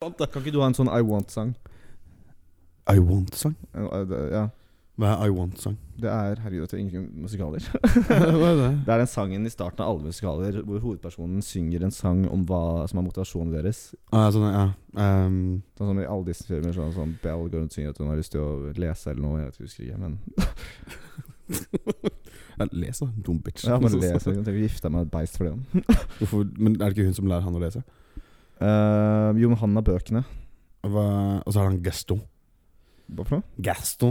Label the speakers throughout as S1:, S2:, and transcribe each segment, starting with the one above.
S1: sant det. Kan ikke du ha en sånn I Want-sang?
S2: I Want-sang?
S1: Eh, eh, det- Ja.
S2: Hva er I Want-sang?
S1: Det er Herregud, dette er ingen musikaler.
S2: Hva er det?
S1: Det er den sangen i starten av alle musikaler hvor hovedpersonen synger en sang om hva som er motivasjonen deres.
S2: Ah, ja, sånn, ja. Ehm,
S1: Sånn som i alle disse filmer sånn, sånn Bell går rundt og synger at hun har lyst til å lese eller noe. Jeg vet ikke, husker ikke, men
S2: ja, les, da. Dum bitch.
S1: Ja, bare les. Jeg tenker å gifte meg med et beist for det.
S2: Hvorfor, men er det ikke hun som lærer han å lese?
S1: Eh, jo, men han har bøkene.
S2: Hva, og så er han Gaston.
S1: Hva for noe?
S2: Gaston.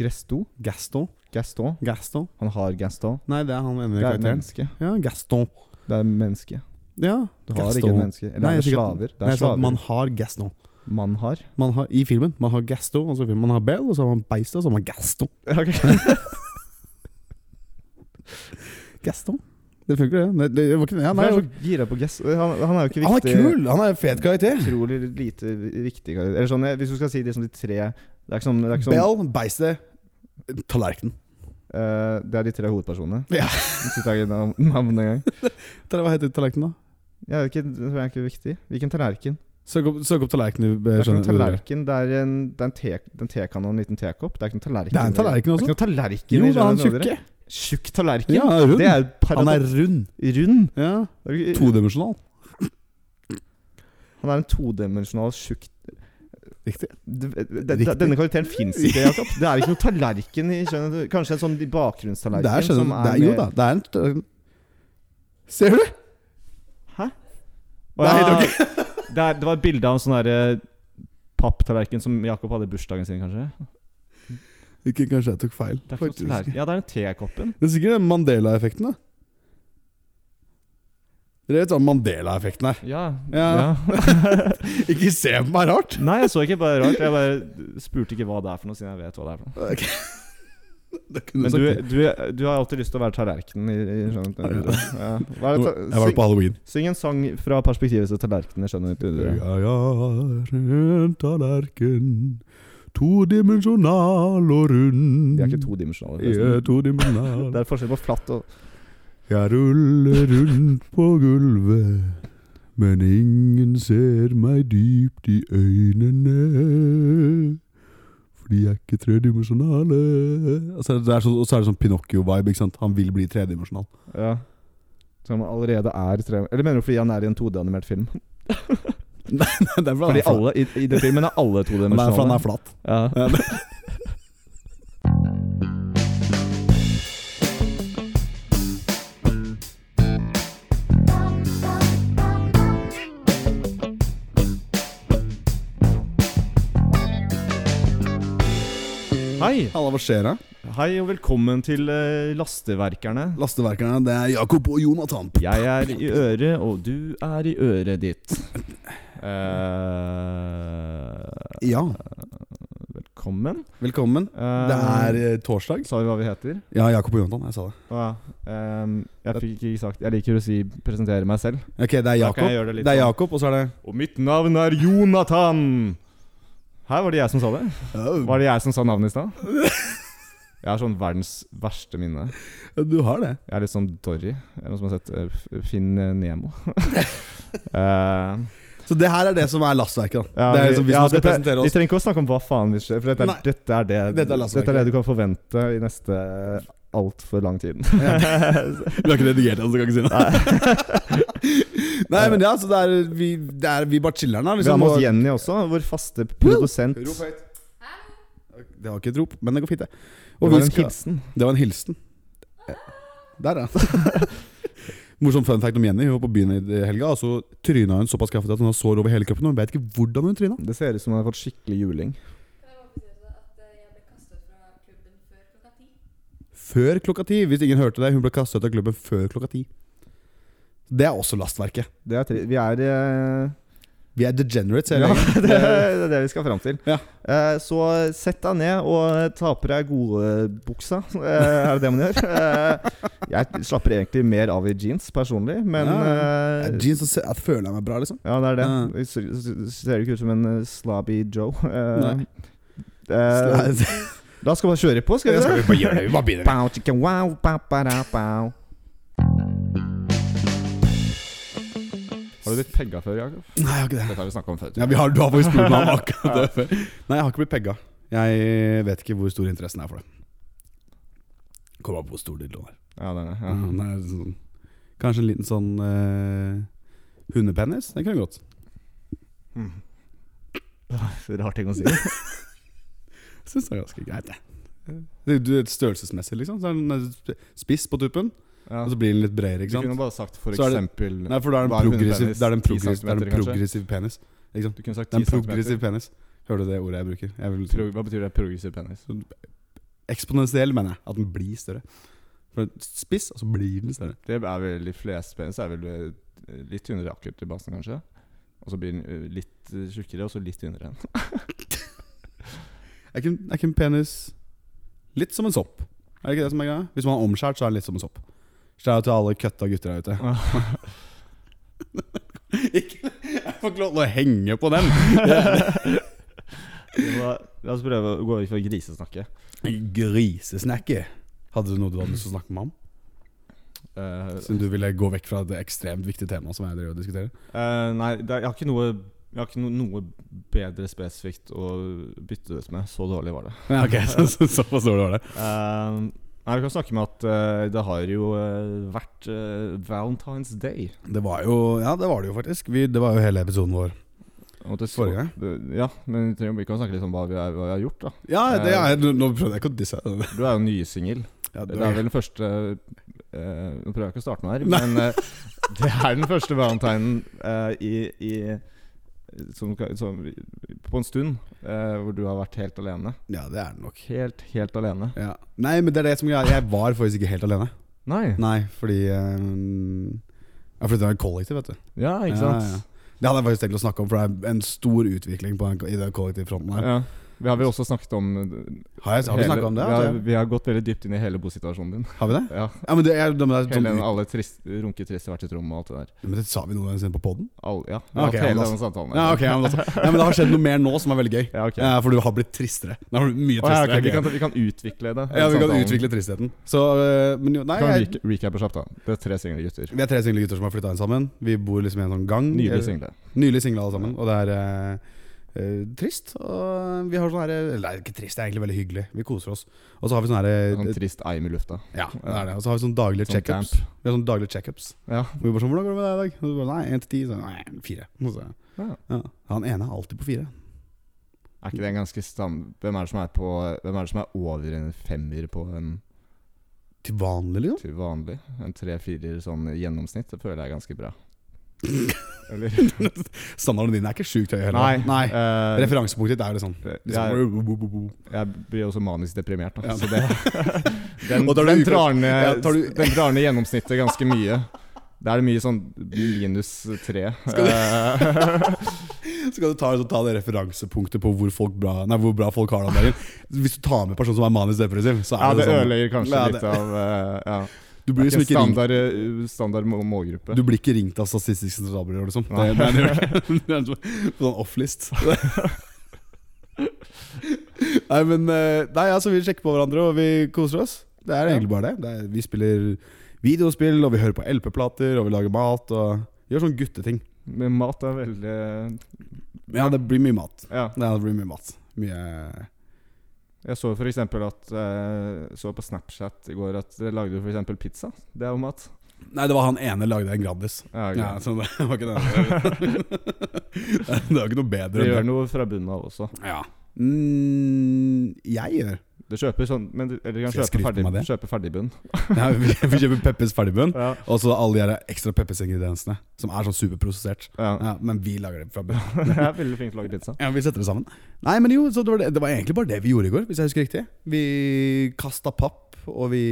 S1: Gresto?
S2: Gaston.
S1: Gaston?
S2: Gaston.
S1: Han har Gaston.
S2: Nei, det er han ene
S1: Det er et
S2: karakteren.
S1: menneske.
S2: Ja, Gaston.
S1: Det er menneske.
S2: Ja,
S1: Du har
S2: Gaston.
S1: ikke et menneske. Eller
S2: Nei,
S1: er det
S2: jeg sikkert-
S1: slaver? Det
S2: Nei,
S1: er
S2: så
S1: slaver.
S2: man
S1: Man,
S2: har Gaston.
S1: har.
S2: Man har, I filmen man har Gaston, og så i filmen man har Bell, og så har man Beistet, og så har man Gaston. Gaston. Det funker, det. Nei, det var ikke, ja, nei,
S1: jeg er så gira på Gaston. Han, han er jo ikke viktig.
S2: han er kul! Han er en fet karakter.
S1: Utrolig lite viktig. karakter. Eller sånn, eh, hvis du skal si liksom de tre Det er ikke sånn, det er, ikke sånn
S2: Bell, Beistet, tallerkenen.
S1: eh, det er de tre hovedpersonene.
S2: Ja.
S1: Sitt eget nav- navn en gang.
S2: Tal- Hva heter tallerkenen, da?
S1: Jeg vet ikke, det er ikke viktig. Hvilken tallerken?
S2: Søk opp, søk opp tallerkenen. du,
S1: Det er
S2: eh,
S1: ikke noen
S2: skjønner-
S1: tallerken, det er en, det er en, te, det er en tekanne og en liten tekopp. Det er ikke noen tallerken.
S2: Det er en tallerken
S1: Det er
S2: også.
S1: ikke noen tallerken
S2: Jo,
S1: i
S2: det er han
S1: Skjønner dere?
S2: tjukke.
S1: Tjukk tallerken?
S2: Ja, han er
S1: Det
S2: rund.
S1: er jo
S2: Han er
S1: paradoks.
S2: rund.
S1: Rund.
S2: Ja,
S1: Det er ikke-
S2: Todimensjonal.
S1: Han er en todimensjonal tjukk
S2: Riktig.
S1: Det- det- det-
S2: Riktig.
S1: Denne karakteren fins ikke, Jakob. Det er ikke noen tallerken i skjønner du? Kanskje en sånn bakgrunnstallerken
S2: Det er, skjønner,
S1: som
S2: du, det er jo
S1: mer-
S2: da. Det er en t- Ser du?
S1: Hæ?
S2: Det er helt
S1: det, er, det var et bilde av en sånn derre papptallerken som Jakob hadde i bursdagen sin, kanskje.
S2: Ikke kanskje jeg tok feil.
S1: Det er ikke noen
S2: faktisk.
S1: tallerken. Ja, det er den tekoppen.
S2: Det er sikkert den Mandela-effekten, da. Dere vet hva sånn Mandela-effekten er?
S1: Ja. ja.
S2: Ja. Ikke se på meg rart!
S1: Nei, jeg så ikke bare rart. Jeg bare spurte ikke hva det er for noe, siden jeg vet hva det er for noe.
S2: Ok. Det kunne
S1: Men du,
S2: sagt det.
S1: du, du har alltid lyst til å være tallerkenen i, i skjønnet. Ja. Hva er
S2: Nå-
S1: det,
S2: Jeg var på halloween.
S1: Syng en sang fra perspektivet til tallerkenen. Jeg skjønner ikke det.
S2: Jeg er en tallerken, todimensjonal og rund.
S1: De er ikke todimensjonale.
S2: Jeg er
S1: forresten.
S2: todimensjonal.
S1: Det er forskjell på flatt og
S2: Jeg ruller rundt på gulvet, men ingen ser meg dypt i øynene. Fordi jeg er ikke tredimensjonale. Altså, det er så, og så er det sånn Pinocchio-vibe. ikke sant? Han vil bli tredimensjonal.
S1: Ja. Som allerede er tre Eller mener du fordi han er i en 2D-animert film?
S2: det er
S1: Fordi alle i, i den filmen er alle
S2: han er, for han er
S1: todimensjonale.
S2: flat.
S1: Ja. Hei!
S2: Halla, hva skjer da?
S1: Hei og velkommen til eh, Lasteverkerne.
S2: Lasteverkerne, det er Jakob og Jonathan.
S1: Jeg er i øret, og du er i øret ditt. Eh,
S2: Ja,
S1: velkommen.
S2: velkommen.
S1: Eh,
S2: Det er eh, torsdag.
S1: Sa vi hva vi heter?
S2: Ja, Jakob og Jonathan. Jeg sa det.
S1: Å, ja. Ehm, jeg fikk ikke sagt Jeg liker å si 'presentere meg selv'.
S2: Ok, det er
S1: Da kan jeg
S2: Jakob,
S1: gjøre det litt
S2: det er
S1: sånn.
S2: Jakob og så er det
S1: Og mitt navn er Jonathan. Her var det jeg som sa det. Var det jeg som sa navnet i stad? Jeg har sånn verdens verste minne.
S2: Ja, Du har det.
S1: Jeg er litt sånn Dory. Er det noen som har sett eh, F- Finn eh, Nemo? Eh,
S2: Så det her er det som er lastverket. da.
S1: Ja,
S2: det er
S1: vi-
S2: liksom, hvis
S1: ja,
S2: man skal
S1: dette-
S2: presentere
S1: Vi
S2: oss
S1: trenger ikke å snakke om hva faen vi skjer, for dette
S2: Nei.
S1: er, dette er, det,
S2: Dette er
S1: dette
S2: lastverket.
S1: er det du kan forvente i neste altfor lang tid.
S2: Liksom Vi har ikke redigert det, så kan jeg ikke si noe. Nei, men ja, så det er vi, det er, vi bare chiller'n her.
S1: vi har
S2: Liksom,
S1: med oss
S2: og-
S1: Jenny også, vår faste produsent.
S2: Rop høyt. Det var ikke et rop, men det går fint, det.
S1: Og det
S2: Og
S1: var
S2: vi
S1: en
S2: skal,
S1: hilsen.
S2: det var en hilsen. Der, ja. Morsom fun fact om Jenny. Hun var på byen i helga, og så tryna hun såpass kraftig at hun har sår over hele kroppen. Og hun vet ikke hvordan hun tryna.
S1: Det ser ut som hun har fått skikkelig juling.
S3: Kan jeg bare få si også at eh, jeg ble kastet fra klubben før klokka ti.
S2: Før klokka ti. Hvis ingen hørte det, hun ble kastet ut av klubben før klokka ti. Det er også lastverket.
S1: Det er tre, vi er eh,
S2: Vi er degenerates, hele
S1: Ja,
S2: gjengen.
S1: det, det er det vi skal fram til.
S2: Ja.
S1: Eh, så sett deg ned og ta på deg godbuksa. Uh, er det det man gjør? Eh, jeg slapper egentlig mer av i jeans personlig, men
S2: Ja.
S1: eh,
S2: Ja, jeans, så se- jeg føler jeg meg bra, liksom.
S1: Ja, det er det.
S2: Ja.
S1: Vi ser ser- ser jo ikke ut som en eh, slobby Joe. Eh,
S2: Nei.
S1: eh,
S2: Så-
S1: da skal vi bare kjøre på, skal vi
S2: Ja,
S1: det?
S2: vi bare gjøre det? Vi bare begynner.
S1: Pow, chicka, wow, pow, pa, da, pow.
S2: Så
S1: Har du blitt pegga før, Jakob?
S2: Nei, jeg har ikke det.
S1: Dette har vi snakka om før.
S2: Ja, vi har, du har faktisk spurt meg om akkurat det før. Nei, jeg har ikke blitt pegga. Jeg vet ikke hvor stor interessen er for det. Kommer an på hvor stor dildoen er.
S1: Ja, den er,
S2: Ja.
S1: ja.
S2: den er sånn, kanskje en liten sånn eh, hundepenis? Det kunne gått.
S1: Så Rar ting å si.
S2: Syns det er ganske greit, det. Det er jo Størrelsesmessig, liksom. Så er den eh, spiss på tuppen,
S1: Ja.
S2: og så blir den litt bredere,
S1: Du
S2: Altså, ikke
S1: kunne
S2: sant.
S1: bare sagt for
S2: Så er det-
S1: eksempel
S2: Nei, for da er
S1: Hva er
S2: den progressiv,
S1: hundepenis?
S2: da er den
S1: 10
S2: progressiv, da er den
S1: centimeter, kanskje?
S2: progressiv penis. Liksom.
S1: Du kunne sagt
S2: Det er
S1: 10
S2: en
S1: cm.
S2: progressiv penis. Hører du det ordet jeg bruker? Jeg vil
S1: Pro hva betyr det? Progressiv penis?
S2: Eksponentiell, mener jeg. At den blir større. For spiss, og så blir den større.
S1: Det er vel de fleste penis er vel eh, litt tynnere akkurat i basen, kanskje. Og så blir den eh, litt eh, tjukkere, og så litt tynnere igjen.
S2: Er ikke, er ikke en penis litt som en sopp? Er det ikke det som er greia? Hvis man er omskjært, så er den litt som en sopp. Shout out til alle køtta gutter der ute. ikke, jeg får ikke lov til å henge på den!
S1: Vi må- La oss prøve å gå over for grisesnakket.
S2: Grisesnacky. Hadde du noe du hadde lyst til å snakke med ham?
S1: Eh,
S2: Siden du ville gå vekk fra det ekstremt viktige temaet som jeg driver og diskuterer.
S1: eh, nei, det er, jeg har ikke noe jeg har ikke no, noe bedre spesifikt å bytte ut med. Så dårlig var det.
S2: Ja, ok, så, så, Såpass dårlig var det.
S1: Eh, nei, Vi kan snakke med at eh, det har jo eh, vært eh, Valentine's Day.
S2: Det var jo Ja, det var det jo faktisk. Vi, det var jo hele episoden vår.
S1: Og det
S2: Forrige gang?
S1: det- Ja, men vi trenger- vi kan snakke litt om hva vi, er, hva vi har gjort. da
S2: Ja, det er, nå prøvde jeg ikke å disse deg.
S1: Du er jo nysingel.
S2: Eh, Ja,
S1: Det er vel den første eh, Nå prøver jeg ikke å starte noe her, men eh, det er den første valentinen eh, i, i som, kan- som, På en stund eh, hvor du har vært helt alene.
S2: ja, det er det nok.
S1: Helt, helt alene.
S2: Ja. Nei, men det er det som jeg, jeg var faktisk ikke helt alene.
S1: Nei.
S2: Nei, fordi eh, Jeg flytta i kollektiv, vet du.
S1: Ja, ikke
S2: Ja,
S1: sant?
S2: Det hadde jeg faktisk tenkt å snakke om, for det er en stor utvikling på den, i den kollektivfronten her.
S1: Ja. Vi har vel også snakket om
S2: Har, jeg, har vi snakka om det?
S1: Vi har,
S2: altså?
S1: vi har gått veldig dypt inn i hele bosituasjonen din.
S2: Har vi det?
S1: Ja,
S2: Ja, men det, jeg, det, men det, er
S1: hele,
S2: sånn-
S1: Alle trist, runketrist hvert sitt rom og alt det der.
S2: men det sa vi noen ganger siden på poden?
S1: All, ja, vi
S2: Ja,
S1: har
S2: ok,
S1: hatt hele
S2: ja,
S1: denne samtalen.
S2: Ja, ok, ja, men, altså, ja, men det har skjedd noe mer nå som er veldig gøy.
S1: Ja, ok.
S2: Ja, for du har blitt tristere. Det har blitt
S1: Å,
S2: mye
S1: ja,
S2: tristere.
S1: ok, vi, kan, vi kan utvikle det.
S2: ja, vi kan
S1: samtalen.
S2: utvikle tristheten. Så, eh, men jo, nei,
S1: Kan
S2: jeg,
S1: rec- recappe kjapt, da. Det er tre single gutter.
S2: vi er tre single gutter som har flytta inn sammen. Vi bor liksom i en sånn gang.
S1: Nylig single.
S2: Nylig singla alle sammen, og det er eh, eh, trist. Og vi har sånn her Eller det er ikke trist, det er egentlig veldig hyggelig. Vi koser oss. Og så har vi sånn her
S1: Sånn
S2: eh,
S1: trist eim i lufta.
S2: Ja, det er det. Og så har vi sånn daglige
S1: Sånn
S2: checkups.
S1: damp.
S2: Vi har sånn daglige checkups.
S1: Ja.
S2: Og vi bare sånn 'Hvordan går det med deg i dag?' Og så bare nei, 1 til 10. Så nei, 4. Og så,
S1: Ja.
S2: ja. Han ene er alltid på 4.
S1: Er ikke det en ganske stam... Hvem er det som er på Hvem er det som er over en femmer på en
S2: Til vanlig, liksom.
S1: til vanlig? En tre-firer sånn i gjennomsnitt? Det føler jeg er ganske bra. Eller?
S2: Standarden din er ikke sjukt høy heller.
S1: Nei.
S2: nei.
S1: eh,
S2: Referansepunktet ditt er jo sånn litt sånn,
S1: jeg,
S2: bo, bo, bo, bo.
S1: jeg blir også manisk deprimert, da.
S2: Ja.
S1: Så det Den,
S2: Og tar du
S1: den,
S2: utgangspunkt-
S1: drar ned,
S2: Ja, tar du-
S1: den drar ned gjennomsnittet ganske mye. Da er det mye sånn minus tre. Eh,
S2: Så kan du ta, så ta det referansepunktet på hvor, folk bra, nei, hvor bra folk har det om dagen. Hvis du tar med en person som er manisk depressiv, så er
S1: Ja,
S2: det,
S1: det
S2: sånn
S1: ødelegger kanskje
S2: Ja, det-
S1: litt av eh, ja. Det
S2: Du blir
S1: er
S2: liksom
S1: ikke
S2: ikke ringt
S1: standard, eh, standard må- målgruppe.
S2: Du blir ikke ringt av Statistisk sentralbyrå, liksom. Det,
S1: Nei.
S2: nei, det gjør ikke. Det er sånn- på sånn offlist. nei, men eh, Nei, altså, vi sjekker på hverandre, og vi koser oss. Det er egentlig bare det. det er, vi spiller videospill, og vi hører på LP-plater, og vi lager mat, og gjør sånn gutteting.
S1: Men mat er veldig
S2: Ja, det blir mye mat.
S1: Ja.
S2: Ja, det blir mye mat. Mye
S1: Jeg så for eksempel at eh, Så på Snapchat i går at dere lagde for eksempel pizza. Det er jo mat.
S2: Nei, det var han ene lagde en Grandis.
S1: Ja,
S2: Ja,
S1: greit.
S2: så det var ikke det. det var ikke noe bedre
S1: Dere gjør
S2: enn det.
S1: noe fra bunnen av også.
S2: Ja. Mm, jeg gjør
S1: Dere kjøper sånn Men dere dere kan
S2: Skal jeg
S1: kjøpe,
S2: skryte
S1: ferdig,
S2: meg av det?
S1: kjøpe ferdigbunn.
S2: Ja, vi, vi kjøper Peppers ferdigbønn,
S1: Ja.
S2: og så alle de her ekstra Peppers-ingrediensene. Som er sånn superprosessert.
S1: Ja.
S2: Ja, men vi lager det fra bunn.
S1: Jeg er veldig flink til å lage pizza.
S2: Ja, vi setter det sammen. Nei, men jo, så det var, det, det var egentlig bare det vi gjorde i går, hvis jeg husker riktig. Vi kasta papp, og vi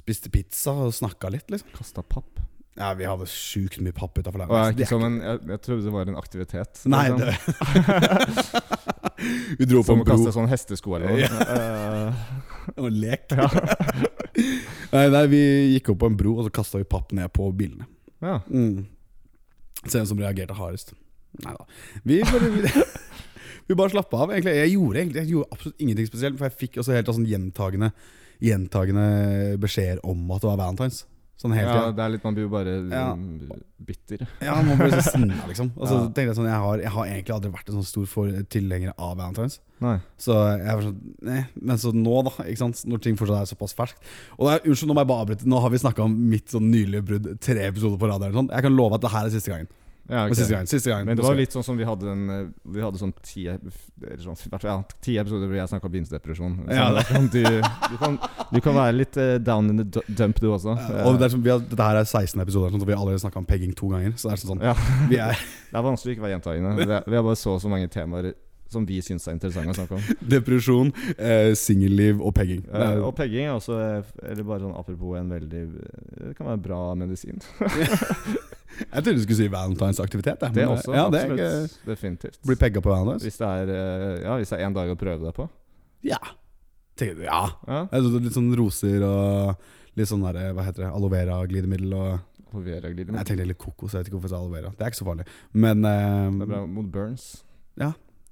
S2: spiste pizza og snakka litt, liksom.
S1: Kasta papp.
S2: Ja, vi hadde sjukt mye papp
S1: Og
S2: utafor
S1: jeg, er
S2: laget.
S1: ikke sånn som
S2: så det
S1: en, jeg, jeg trodde det var en aktivitet.
S2: er- Nei,
S1: liksom.
S2: det Vi dro på
S1: Som
S2: en
S1: å
S2: bro.
S1: kaste sånn hestesko eller noe. Eh,
S2: Det var lek. nei, nei, vi gikk opp på en bro, og så kasta vi papp ned på bilene.
S1: ja.
S2: Mm. Se hvem som reagerte hardest. Nei da. Vi bare, vi, vi bare slappa av. Egentlig. Jeg, gjorde, egentlig- jeg gjorde absolutt ingenting spesielt, for jeg fikk også helt sånn gjentagende Gjentagende beskjeder om at det var valentines. Sånn hele
S1: Ja,
S2: tida.
S1: det er litt Man blir jo bare
S2: Ja.
S1: mm, bitter.
S2: Ja, man blir så sinna, liksom. Og så
S1: Ja.
S2: tenkte jeg sånn jeg har, jeg har egentlig aldri vært en sånn stor for, tilhenger av Valentine's.
S1: Nei.
S2: Så jeg var sånn Nei. Men så nå, da. Ikke sant? Når ting fortsatt er såpass ferskt. Og det er, Unnskyld, nå må jeg bare avbryte. Nå har vi snakka om mitt sånn nylige brudd tre episoder på rad. eller Sånn. Jeg kan love at det her er siste gangen.
S1: Ja, ok.
S2: Men siste gangen, siste gangen
S1: Men det var litt sånn som vi hadde en eh, Vi hadde sånn ti ep- eller sånn, hvert fall, ja, ti episoder hvor jeg snakka om bindedepresjon. Så
S2: Ja,
S1: da kan du, du, kan, du kan være litt eh, down in the du- dump, du også. Eh,
S2: Ja, og det er som, vi har, Dette her er 16 episoder, sånn, så vi har allerede snakka om pegging to ganger. Så det er sånn,
S1: Ja.
S2: vi er
S1: Det er vanskelig å ikke være gjentagende. Det er- Vi har bare så og så mange temaer som vi syns er interessante å snakke om.
S2: Depresjon, eh, singelliv og pegging. Det
S1: Eh,
S2: er-
S1: Og pegging er også eh, Eller bare sånn apropos en veldig eh, Det kan være bra medisin.
S2: Jeg trodde du skulle si valentinsaktivitet. jeg,
S1: Det
S2: men-
S1: også.
S2: ja, det er
S1: absolutt. Definitivt.
S2: ikke- Bli pegga på altså. valentines?
S1: Hvis det er eh, Ja, hvis det er én dag å prøve deg på.
S2: Ja. Tenker du, ja.
S1: Ja.
S2: Altså, litt sånn roser og litt sånn der, hva heter det, aloe vera-glidemiddel og
S1: Og Vera-glidemiddel.
S2: Jeg tenkte litt kokos, jeg vet ikke hvorfor jeg sa aloe vera. Det er ikke så farlig. Men eh,
S1: Det er bra mot burns.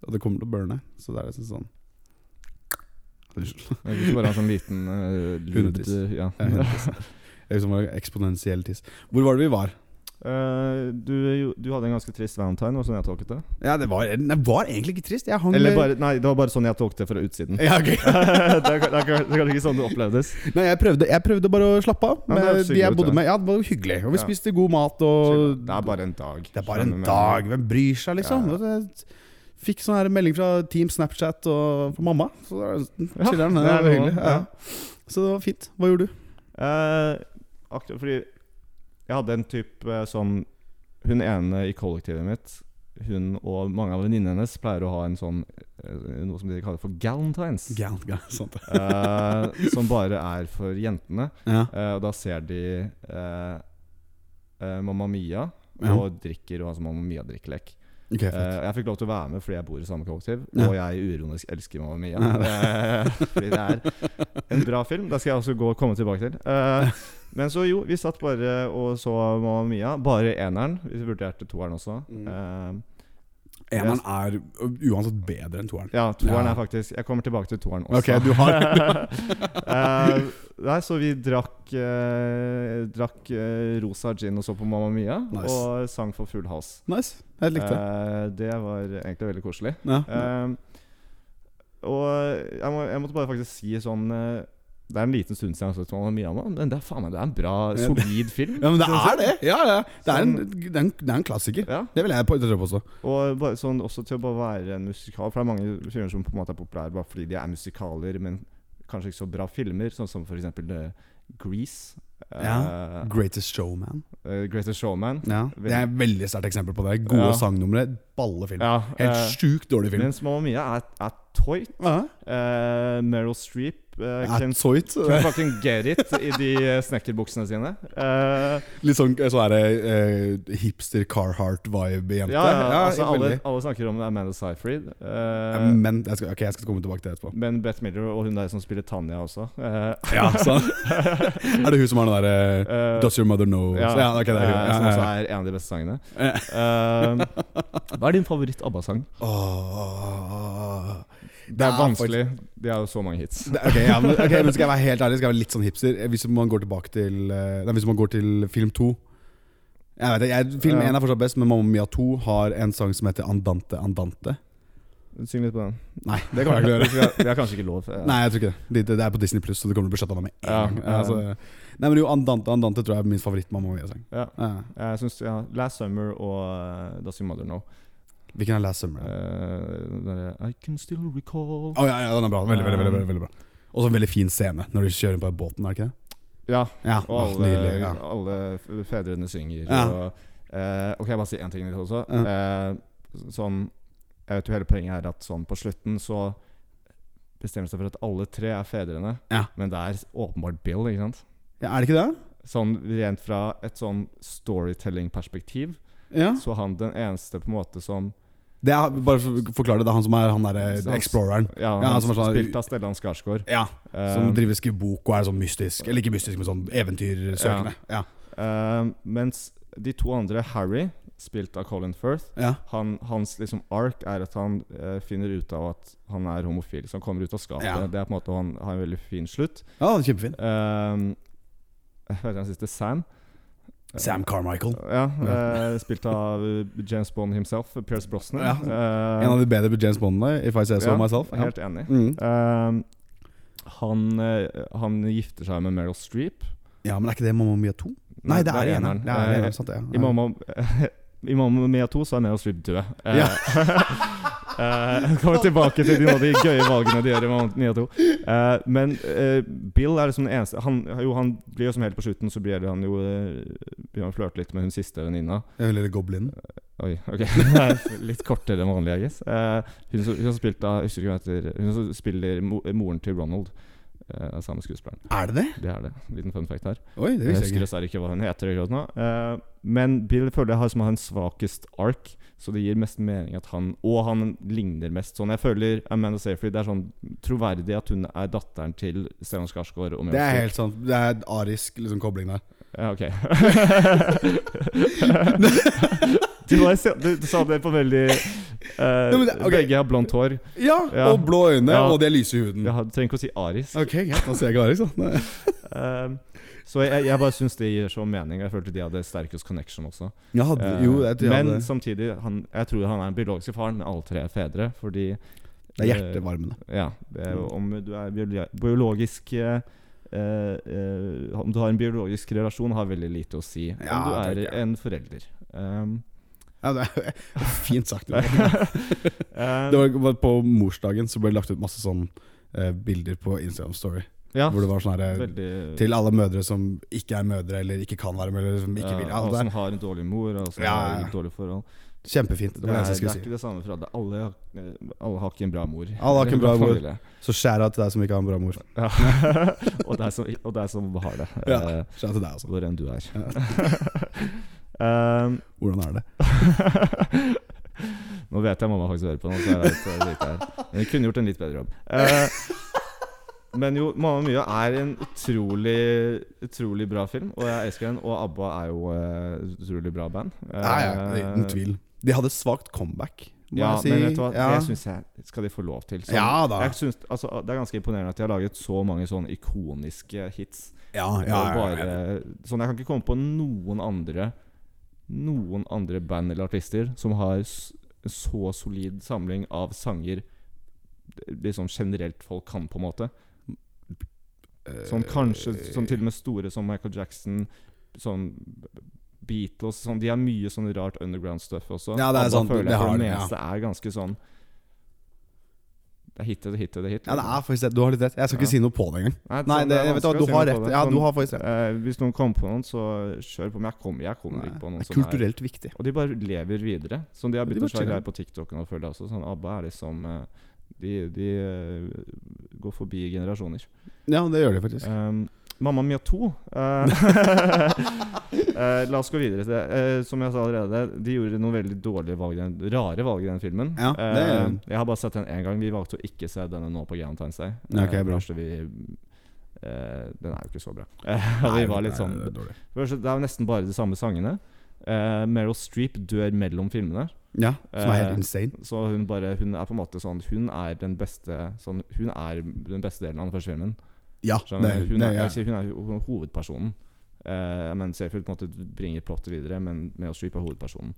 S2: Og det kommer til å burne, så det er liksom sånn Unnskyld.
S1: Jeg vil ikke bare ha sånn liten uh,
S2: Hundetiss.
S1: Ja.
S2: Jeg er helt- jeg er liksom bare eksponentiell tiss. Hvor var det vi var?
S1: Eh, du, du hadde en ganske trist valentine, var det sånn jeg tolket det?
S2: Ja, det var, det var egentlig ikke trist. Jeg hang
S1: Eller bare Nei, det var bare sånn jeg tolket det fra utsiden.
S2: ja, ok.
S1: det er det er kanskje ikke sånn det opplevdes.
S2: Nei, jeg prøvde, jeg prøvde bare å slappe av
S1: Ja,
S2: med
S1: det høres
S2: de jeg
S1: hyggelig ut,
S2: bodde
S1: ja.
S2: med. Ja, det var jo hyggelig. Og vi
S1: Ja.
S2: spiste god mat og
S1: det er bare en dag.
S2: Det er bare
S1: Skjønner
S2: en
S1: du, men-
S2: dag. Hvem bryr seg, liksom?
S1: Ja,
S2: Jeg fikk sånn her melding fra Team Snapchat og fra mamma. Så da
S1: Ja,
S2: chiller'n.
S1: det er
S2: det var
S1: noe,
S2: hyggelig. Ja.
S1: ja.
S2: Så det var fint. Hva gjorde du?
S1: Eh, akkurat fordi jeg hadde en type eh, sånn Hun ene i kollektivet mitt, hun og mange av venninnene hennes pleier å ha en sånn eh, noe som de kaller for galentines.
S2: Gærent, gærent. Sant det.
S1: eh, som bare er for jentene.
S2: Ja.
S1: Eh, og da ser de eh, eh, Mamma Mia
S2: Ja.
S1: og drikker og har sånn Mamma Mia-drikkelek.
S2: Ok, fett.
S1: Eh, jeg fikk lov til å være med fordi jeg bor i samme kollektiv,
S2: Ja.
S1: og jeg uironisk elsker Mamma Mia.
S2: Ja,
S1: Eh, fordi det er en bra film. Det skal jeg også gå og komme tilbake til. Eh, men så jo, vi satt bare og så Mamma Mia. Bare eneren. Vi vurderte toeren også.
S2: Mm.
S1: Eh,
S2: Eneren er uansett bedre enn toeren.
S1: ja, toeren
S2: Ja.
S1: er faktisk Jeg kommer tilbake til toeren også.
S2: Ok, du har
S1: Eh, nei, så vi drakk eh, Drakk eh, rosa gin og så på Mamma Mia,
S2: Nice.
S1: og sang for full hals.
S2: Nice. Jeg likte det.
S1: Eh, det var egentlig veldig koselig.
S2: Ja.
S1: Eh, og jeg, må, jeg måtte bare faktisk si sånn eh, Det er en liten stund siden jeg har sett Mamma Mia, nå, men det er faen meg Det er en bra,
S2: Ja, det-
S1: solid film.
S2: ja, men det er det! Ja, ja. Det er en,
S1: Sånn-
S2: det er en, det er en klassiker.
S1: Ja,
S2: Det vil jeg på- tro på også.
S1: og bare sånn, også til å bare være en musikal. For det er mange filmer som på en måte er populære bare fordi de er musikaler, men kanskje ikke så bra filmer. Sånn som for eksempel eh, Grease. eh,
S2: Ja. Greatest Showman.
S1: eh, Greatest Showman.
S2: Ja. Det er et veldig sterkt eksempel på det. Gode
S1: Ja.
S2: sangnumre, ballefilm.
S1: Ja, eh,
S2: Helt sjukt dårlig film.
S1: mens Mamma Mia er, er toit.
S2: Ja.
S1: Eh, Meryl Streep eh,
S2: Er
S1: can,
S2: soit.
S1: can fucking get it i de eh, snekkerbuksene sine. Eh,
S2: Litt sånn, sånn er det eh, hipster Carhartt-vibe jente.
S1: ja, ja, altså, alle,
S2: veldig.
S1: alle snakker om Amanda Seyfried.
S2: Ja,
S1: Eh,
S2: Men jeg skal, ok, jeg skal komme tilbake til det etterpå.
S1: men Beth Miller og hun der som spiller Tanja også. Eh,
S2: Ja, sånn. er det hun som har den derre
S1: eh,
S2: Does your mother know? Ja, ja ok, det er
S1: eh, Som
S2: hun.
S1: også
S2: Ja, ja,
S1: er en av de beste sangene.
S2: ja.
S1: Eh, hva er din favoritt-ABBA-sang?
S2: Åh.
S1: Det er
S2: Ja,
S1: vanskelig. De har jo så mange hits.
S2: Det- Ok, ja, men, ok, men skal jeg være helt ærlig, skal jeg være litt sånn hipster Hvis man går tilbake til eh, Nei, hvis man går til film 2 Jeg vet ikke, jeg, film
S1: Ja.
S2: 1 er fortsatt best Men Mamma Mia 2 har en sang som heter Andante, Andante
S1: Syng litt på den.
S2: Nei, det kan jeg ikke gjøre
S1: Vi har, vi har kanskje ikke lov. eh.
S2: Nei, jeg tror ikke det. det. Det er på Disney Pluss, så det kommer til å bli shutta ned med en
S1: Ja,
S2: gang.
S1: ja.
S2: Altså, nei, men jo, Andante, Andante tror jeg er min favoritt-Mamma Mia-sang.
S1: Ja.
S2: Ja.
S1: Jeg synes, ja, Last Summer og eh, Does Your Mother Know.
S2: Hvilken er Last Summer? Å
S1: Eh, den derre I can still recall
S2: ja, ja, den er bra. Veldig, veldig, veldig, veldig, veldig bra. Og så en veldig fin scene når de kjører på båten, er det ikke det?
S1: Ja,
S2: Ja,
S1: og
S2: åh,
S1: alle,
S2: nydelig. Ja.
S1: alle f- fedrene synger.
S2: Ja.
S1: Og, eh, ok, jeg bare si én ting til også. Eh, sånn Jeg vet jo hele poenget er at sånn på slutten så bestemmer det seg for at alle tre er fedrene,
S2: Ja.
S1: men det er åpenbart Bill, ikke sant?
S2: ja, Er det ikke det?
S1: Sånn rent fra et sånn storytelling-perspektiv,
S2: Ja.
S1: så han den eneste på en måte som
S2: Det er, bare for- forklar det. Det er han som er han derre
S1: Så-
S2: exploreren.
S1: Ja,
S2: Ja,
S1: han
S2: som er sånn-
S1: spilt av Stellan Skarsgård.
S2: Ja,
S1: Eh,
S2: Som driver skrivebok og er sånn mystisk. Eller ikke mystisk, men sånn eventyrsøkende. Ja.
S1: eh, mens de to andre, Harry, spilt av Colin Firth,
S2: Ja.
S1: han, hans liksom ark er at han eh, finner ut av at han er homofil. Så han kommer ut av skapet.
S2: Ja.
S1: Det er på en måte Han har en veldig fin slutt.
S2: ja, kjempefin.
S1: Ehm, Hva heter han siste? Sam?
S2: Sam Carmichael.
S1: Ja, eh, spilt av eh, James Bond himself, Pierce Brosnan.
S2: Ja.
S1: Eh,
S2: En av de bedre med James Bondene, if I say so
S1: ja,
S2: myself. Ja.
S1: Helt enig.
S2: Mm.
S1: Eh, han, eh, han gifter seg med Meryl Streep.
S2: ja, men er ikke det Mamma Mia 2? Nei, det er eneren. Det er
S1: Eh,
S2: eneren, sant det.
S1: I Mamma I Mamma Mia 2 så er Meryl Streep død. Eh,
S2: Ja.
S1: eh, kommer tilbake til de, noen av de gøye valgene de gjør i Mamma Mia 2. Eh, men eh, Bill er liksom den eneste han, Jo, han blir jo som helt på slutten, så blir det han jo eh, Begynner å flørte litt med hun siste venninna.
S2: Eller Goblin.
S1: Oi, ok. Det er litt kortere enn vanlig, jeg guess. Eh, hun som, hun som, spilte, av- jeg husker ikke hva hun heter, hun som spiller mo moren til Ronald. eh, er samme skuespilleren.
S2: Er det det?
S1: Det er det. Liten fun fact her.
S2: Oi, det
S1: Jeg
S2: visste
S1: husker
S2: jeg ikke.
S1: dessverre ikke hva hun heter akkurat nå. Eh, men Bill føler jeg har, som har en svakest ark, så det gir mest mening at han Og han ligner mest sånn. Jeg føler Amanda Seyfried Det er sånn troverdig at hun er datteren til Stellan Skarsgård. og Meryl
S2: Det er
S1: Streep.
S2: helt sant. Det er en arisk liksom, kobling der.
S1: Ja, ok. du, var- du, du sa det på veldig eh,
S2: Ja, men det- ok.
S1: Begge har blondt hår.
S2: Ja,
S1: Ja.
S2: Og blå øyne,
S1: Ja.
S2: og de er lyse i huden.
S1: Jeg har- trenger ikke å si arisk.
S2: Ok, greit. Da ser jeg ikke arisk, da. Nei.
S1: Eh, så jeg, jeg bare syns det gir så mening. Jeg følte de hadde sterkest connection også.
S2: Jeg hadde,
S1: Eh,
S2: jo, jeg, jeg
S1: men
S2: hadde,
S1: samtidig, han, jeg tror han er den biologiske faren. Alle tre er fedre, fordi eh,
S2: det er Mm. hjertevarmende.
S1: Ja, det er, jo- om du er biolo- biologisk eh, eh, eh, Om du har en biologisk relasjon, har veldig lite å si. om
S2: Ja,
S1: du
S2: tenker
S1: er
S2: jeg.
S1: en forelder. Um,
S2: Ja, det er fint sagt.
S1: Eh,
S2: Det var, var På morsdagen så ble det lagt ut masse sånn eh, bilder på Instagram Story.
S1: ja,
S2: Hvor det var sånn her eh,
S1: veldig
S2: Til alle mødre som ikke er mødre, eller ikke kan være mødre, eller som ikke vil.
S1: ja,
S2: Ja,
S1: og eh,
S2: det
S1: som
S2: er
S1: har en dårlig mor, og som
S2: Ja, ja,
S1: har
S2: ja.
S1: et dårlig forhold.
S2: kjempefint. Det var det
S1: altså. det
S2: eneste jeg
S1: er
S2: skulle si.
S1: ikke det samme for alle. Alle har, eh, alle har ikke en bra mor.
S2: har ikke en bra mor.
S1: Familie.
S2: Så skjæra til deg som ikke har en bra mor.
S1: Ja. og, det er som, og det er som har det.
S2: Ja.
S1: Eh,
S2: Skjæra til deg, altså.
S1: Hvor enn du er. Um,
S2: Hvordan er det?
S1: nå vet jeg mamma faktisk hører på nå, så jeg vet eh, litt her. Men jeg kunne gjort en litt bedre jobb. Eh, men jo, 'Mamma Mia' er en utrolig Utrolig bra film, og jeg elsker den. Og ABBA er jo eh, et utrolig bra band. Eh,
S2: Nei, ja, uten tvil. De hadde svakt comeback, må
S1: Ja,
S2: jeg si.
S1: men vet du hva?
S2: Ja.
S1: Det syns jeg skal de få lov til. Sånn,
S2: Ja da.
S1: Jeg synes, altså, det er ganske imponerende at de har laget så mange sånne ikoniske hits.
S2: Ja,
S1: Ja,
S2: ja, ja, ja,
S1: bare, Sånn, jeg kan ikke komme på noen andre Noen andre band eller artister som har s- så solid samling av sanger Liksom generelt folk kan, på en måte.
S2: Eh,
S1: Sånn kanskje sånn til og med store som Michael Jackson, sånn Beatles sånn, De har mye sånn rart underground stuff også.
S2: Ja, det er
S1: ABBA
S2: sant,
S1: føler
S2: det
S1: jeg
S2: har
S1: for det
S2: de, ja.
S1: meste er ganske sånn Det er hit etter hit etter hit.
S2: Ja, det er faktisk det. Du har litt rett. Jeg skal
S1: Ja.
S2: ikke si noe på det engang.
S1: Nei,
S2: Nei,
S1: sånn,
S2: det,
S1: er
S2: vet du hva,
S1: vanskelig å
S2: du
S1: si
S2: har
S1: noe på
S2: rett.
S1: det.
S2: Ja,
S1: Sånn-
S2: du har faktisk rett.
S1: Eh, hvis noen kommer på noen, så kjør på. Men jeg, kom, jeg kommer ikke på
S2: Nei,
S1: noen
S2: Det er
S1: som er
S2: kulturelt viktig.
S1: Og de bare lever videre. Som de har
S2: Ja, de
S1: begynt å
S2: bare
S1: slå greier
S2: chiller.
S1: på TikTok nå, føler jeg også. Sånn ABBA er liksom eh, De, de eh, går forbi generasjoner.
S2: Ja, det gjør det faktisk.
S1: Um, Mamma Mia 2 eh, eh, La oss gå videre til det. Eh, som jeg sa allerede, de gjorde noen veldig dårlige valg, i den, rare valg i den filmen.
S2: Ja, det-
S1: Eh, jeg har bare sett den én gang. Vi valgte å ikke se denne nå på Galentine's Day.
S2: Ja, ok,
S1: Eh,
S2: bra.
S1: kanskje vi, eh, den er jo ikke så bra. Eh, vi var litt sånn
S2: det er dårlig.
S1: Først, Det er jo nesten bare de samme sangene. Eh, Meryl Streep dør mellom filmene.
S2: Ja, som er
S1: Eh,
S2: helt insane.
S1: Så hun bare Hun er på en måte sånn Hun er den beste sånn, Hun er den beste delen av den første filmen.
S2: Ja,
S1: Skjønner
S2: det,
S1: du? hun,
S2: det,
S1: er,
S2: ja.
S1: jeg sier hun er ho- hovedpersonen. Eh, men Seyfried på en måte bringer plottet videre, men Meryl Streep er hovedpersonen.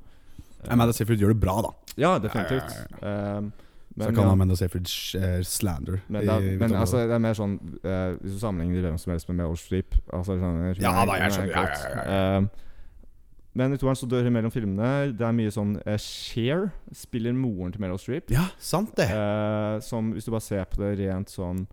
S1: Eh,
S2: Amanda Seyfried gjør det bra, da.
S1: ja, definitivt. Eh,
S2: Så
S1: men,
S2: kan
S1: ja,
S2: Amanda Seyfried eh, slander.
S1: men,
S2: i-
S1: det
S2: i
S1: er, men
S2: Victoria.
S1: altså, det er mer sånn eh, Hvis du sammenligner hvem som helst med Meryl Streep altså, hun er- hun
S2: Ja
S1: er-
S2: da, jeg
S1: hun er
S2: skjønner,
S1: en
S2: ja, ja,
S1: kåt. Eh, men i toeren så dør hun mellom filmene. Det er mye sånn eh, Cher spiller moren til Meryl Streep.
S2: Ja, sant det.
S1: Eh, som hvis du bare ser på det rent sånn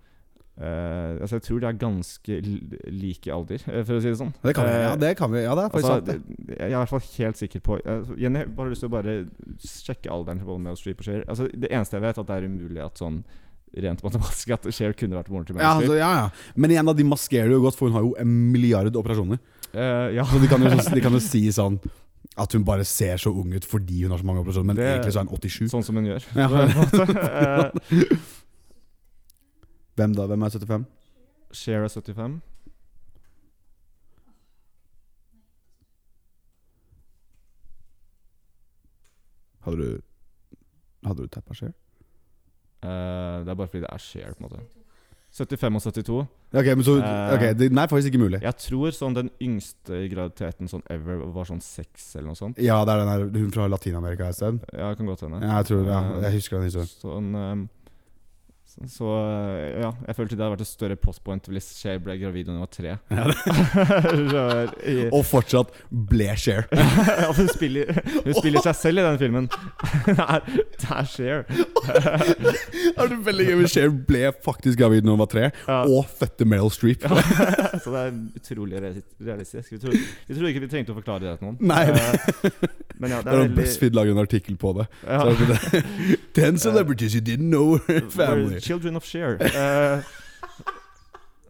S1: eh, Altså Jeg tror de er ganske li- like i alder, eh, for å si det sånn.
S2: Det kan vi. Ja,
S1: Eh,
S2: det, kan vi. Ja, det er faktisk
S1: altså,
S2: sant, det.
S1: Jeg er i hvert fall helt sikker på eh, Jenny, jeg bare har lyst til å bare sjekke alderen til både Meryl Streep og Cher. Altså, det eneste jeg vet, er at det er umulig at sånn rent matematisk at Cher kunne vært moren til
S2: Ja,
S1: Meryl
S2: altså,
S1: Streep.
S2: ja, ja. Men igjen, da, de maskerer det jo godt, for hun har jo en milliard operasjoner.
S1: Eh, ja.
S2: Så de kan jo, sånn- de kan jo si sånn at hun bare ser så ung ut fordi hun har så mange operasjoner, men
S1: Det-
S2: egentlig så er hun 87.
S1: Sånn som hun gjør.
S2: Ja.
S1: På en måte. Eh,
S2: Hvem da? Hvem er 75?
S1: Cher er 75.
S2: Hadde du Hadde du tappa Cher?
S1: Eh, det er bare fordi det er Cher, på en måte. 75 og 72.
S2: Ok, men så
S1: Eh.
S2: Ok, den er faktisk ikke mulig.
S1: Jeg tror sånn den yngste i graviditeten sånn ever var sånn seks eller noe sånt.
S2: Ja, det er den her hun fra Latin-Amerika et sted.
S1: Ja, det kan godt hende.
S2: Ja, jeg tror ja, Jeg husker den historien.
S1: Sånn ehm, så, så eh, ja, jeg følte det hadde vært et større plot point hvis Cher ble gravid da hun var tre. Så, i-
S2: Og fortsatt ble share.
S1: ja, hun, spiller, hun spiller seg selv i den filmen. det er, det er Cher.
S2: er det veldig gøy men Cher ble faktisk gravid da hun var tre,
S1: Ja.
S2: og fødte Meryl Streep.
S1: Ja, så det er utrolig reali- realistisk. Vi trodde, vi trodde ikke vi trengte å forklare det til noen.
S2: Nei.
S1: Eh, Men ja, det
S2: Da
S1: er veldig
S2: BuzzFeed lager en artikkel på det.
S1: ja.
S2: Så er det Ten celebrities you didn't know were
S1: We're
S2: family.
S1: children of Cher. Eh,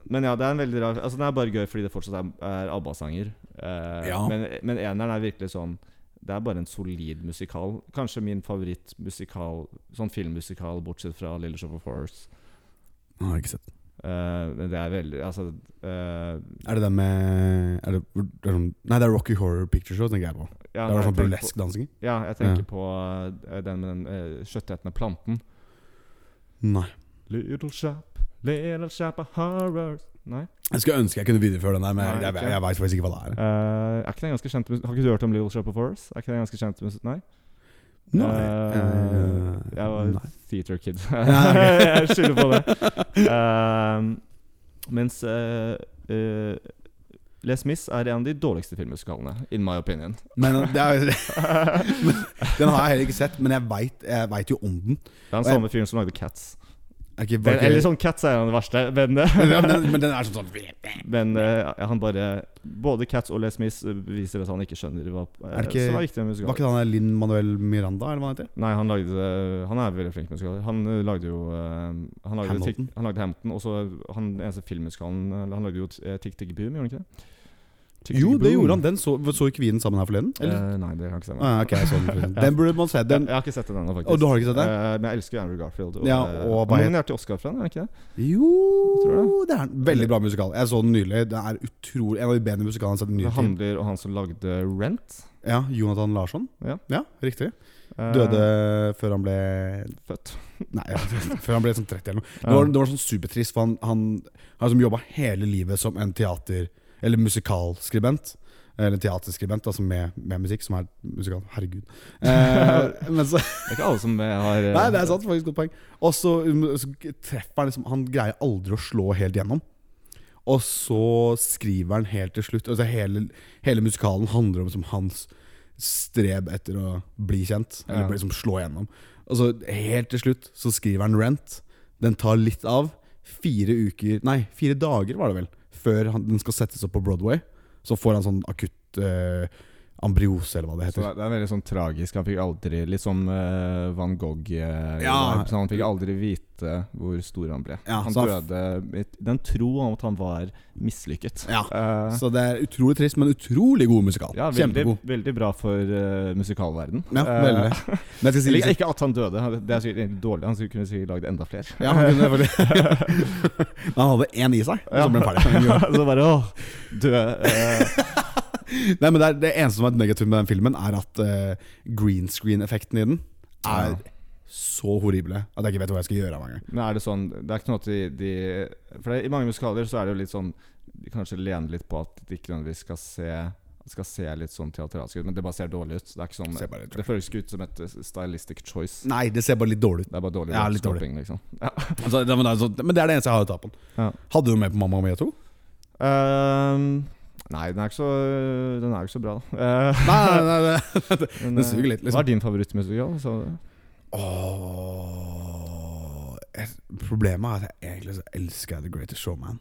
S1: men ja, det er en veldig rar Altså Den er bare gøy fordi det fortsatt er, er ABBA-sanger. Eh,
S2: Ja.
S1: Men, men eneren er virkelig sånn Det er bare en solid musikal. Kanskje min favorittmusikal Sånn filmmusikal bortsett fra Little Shop of Horrors.
S2: Nå har jeg ikke sett.
S1: Eh, men det er veldig Altså eh,
S2: Er det den med er det, er det, sånn- Nei, det er Rocky Horror Picture Show, tenker jeg på.
S1: ja,
S2: Det var
S1: jeg
S2: sånn
S1: tenker på-
S2: burlesk dansing.
S1: Ja, jeg tenker på eh, den med den eh, kjøttetende planten.
S2: Nei.
S1: Little Shop, Little Shop of Horrors Nei?
S2: Jeg skulle ønske jeg kunne videreføre den der, men
S1: Nei,
S2: jeg, jeg,
S1: ikke.
S2: jeg vet faktisk ikke hva det er.
S1: Eh, er ikke den ganske kjent mus- Har ikke du hørt om Little Shop of Horrors? Er ikke den ganske kjent mus- Nei?
S2: Nei.
S1: Eh,
S2: Eh,
S1: jeg var
S2: nei.
S1: theater kid.
S2: Ja, ok.
S1: jeg skylder på det. Ehm, mens eh, eh, Les Mis er en av de dårligste filmmusikalene, in my opinion.
S2: Men eh, det er, men, Den har jeg heller ikke sett, men jeg veit jeg vet jo om den.
S1: Det er den samme fyren som lagde Cats.
S2: Er ikke-
S1: Den, eller
S2: ikke-
S1: sånn Cats er den verste, men,
S2: Ja, men, den, men den er sånn sånn Er
S1: men eh, han bare Både Cats og Les Mis viser at han ikke skjønner hva eh,
S2: Er det ikke-
S1: som er riktig med
S2: Var
S1: musikal.
S2: ikke det han der Linn Manuel Miranda, eller hva han heter?
S1: Nei, han lagde Han er veldig flink musikaler. Han eh, lagde jo eh, han lagde
S2: Hamilton.
S1: Tick, han lagde Hamilton. Og så han eneste filmmusikalen eh, Han lagde jo t- eh, Tick Tick Boom, gjorde han ikke det? Tick, Tick,
S2: Jo, det
S1: Boom.
S2: gjorde han. Den så, så ikke vi den sammen her forleden? Eller?
S1: Eh, nei, det har jeg ikke sett.
S2: Ah, ok, sånn, den burde man se.
S1: Jeg,
S2: Den,
S1: jeg har ikke sett den ennå, faktisk.
S2: og du har ikke sett den?
S1: Eh, men jeg elsker Andrew Garfield.
S2: Ja,
S1: eh,
S2: og hva
S1: han er
S2: het-
S1: nominert til Oscar for den, er han ikke det?
S2: Jo
S1: Tror
S2: Det er en veldig bra musikal. Jeg så den nylig. Det er utrolig En av de bedre musikalene jeg har sett i
S1: Det
S2: nyere tid.
S1: handler om han som lagde Rent.
S2: Ja, Jonathan Larsson.
S1: Ja.
S2: riktig.
S1: eh,
S2: Døde før han ble
S1: Født. Eh,
S2: Nei, før han ble sånn 30 eller noe. Det var, det var sånn supertrist, for han, han, han som jobba hele livet som en teater- eller musikalskribent. Eller teaterskribent, altså med, med musikk, som er musikal. Herregud. Eh, men så,
S1: Det er ikke alle som eh, har eh,
S2: nei, det er sant. Faktisk godt poeng. Og så um, så treffer han liksom Han greier aldri å slå helt gjennom. Og så skriver han helt til slutt altså hele, hele musikalen handler om liksom, hans streb etter å bli kjent.
S1: Ja.
S2: Eller liksom slå gjennom. Og så helt til slutt så skriver han Rent. Den tar litt av. Fire uker Nei, fire dager var det vel før han, den skal settes opp på Broadway. Så får han sånn akutt eh, ambriose, eller hva det
S1: Så
S2: heter.
S1: det er- det er veldig sånn tragisk. Han fikk aldri Litt som eh, Van Gogh. eh,
S2: Ja.
S1: så han fikk aldri vite hvor stor han ble.
S2: Ja,
S1: han
S2: så
S1: døde i den tro om at han var mislykket.
S2: Ja.
S1: Eh,
S2: Så det er utrolig trist, men utrolig god musikal.
S1: ja, veldig,
S2: Kjempegod.
S1: veldig bra for uh, musikalverden.
S2: Ja,
S1: Eh,
S2: veldig. Men jeg skal si
S1: eller
S2: liksom,
S1: ikke at han døde, det er sikkert egentlig dårlig. Han skulle kunne sikkert lagd enda flere.
S2: ja, han, kunne, faktisk- Men han hadde én i seg, og så ble han ferdig.
S1: så bare åh, dø. eh,
S2: Nei, men det, er, det eneste som er negativt med den filmen, er at eh, green screen-effekten i den er
S1: Ja.
S2: så horrible at jeg ikke vet hva jeg skal gjøre av meg.
S1: Men er det sånn Det er ikke noe at de, de For det, i mange musikaler så er det jo litt sånn De kanskje lener litt på at de ikke nødvendigvis skal se Skal se litt sånn teatralsk ut, men det bare ser dårlig ut. Det er ikke sånn
S2: Ser bare litt
S1: Det føles ikke ut som et eh, stylistic choice.
S2: Nei, det ser bare litt dårlig ut.
S1: Det er bare dårlig
S2: Ja, litt
S1: rappskaping, liksom. Ja.
S2: Altså, det, men, det er sånn- men det er det eneste jeg har å ta på den.
S1: Ja.
S2: Hadde du med på Mamma Mia 2?
S1: Ehm, nei, den er ikke så Den er jo ikke så bra, da. Eh,
S2: Nei, nei, nei, nei.
S1: men,
S2: Den
S1: eh,
S2: suger litt,
S1: Hva
S2: liksom.
S1: er din favorittmusikal? Så,
S2: Åh, jeg- Problemet er at jeg egentlig så elsker jeg The Greatest Showman.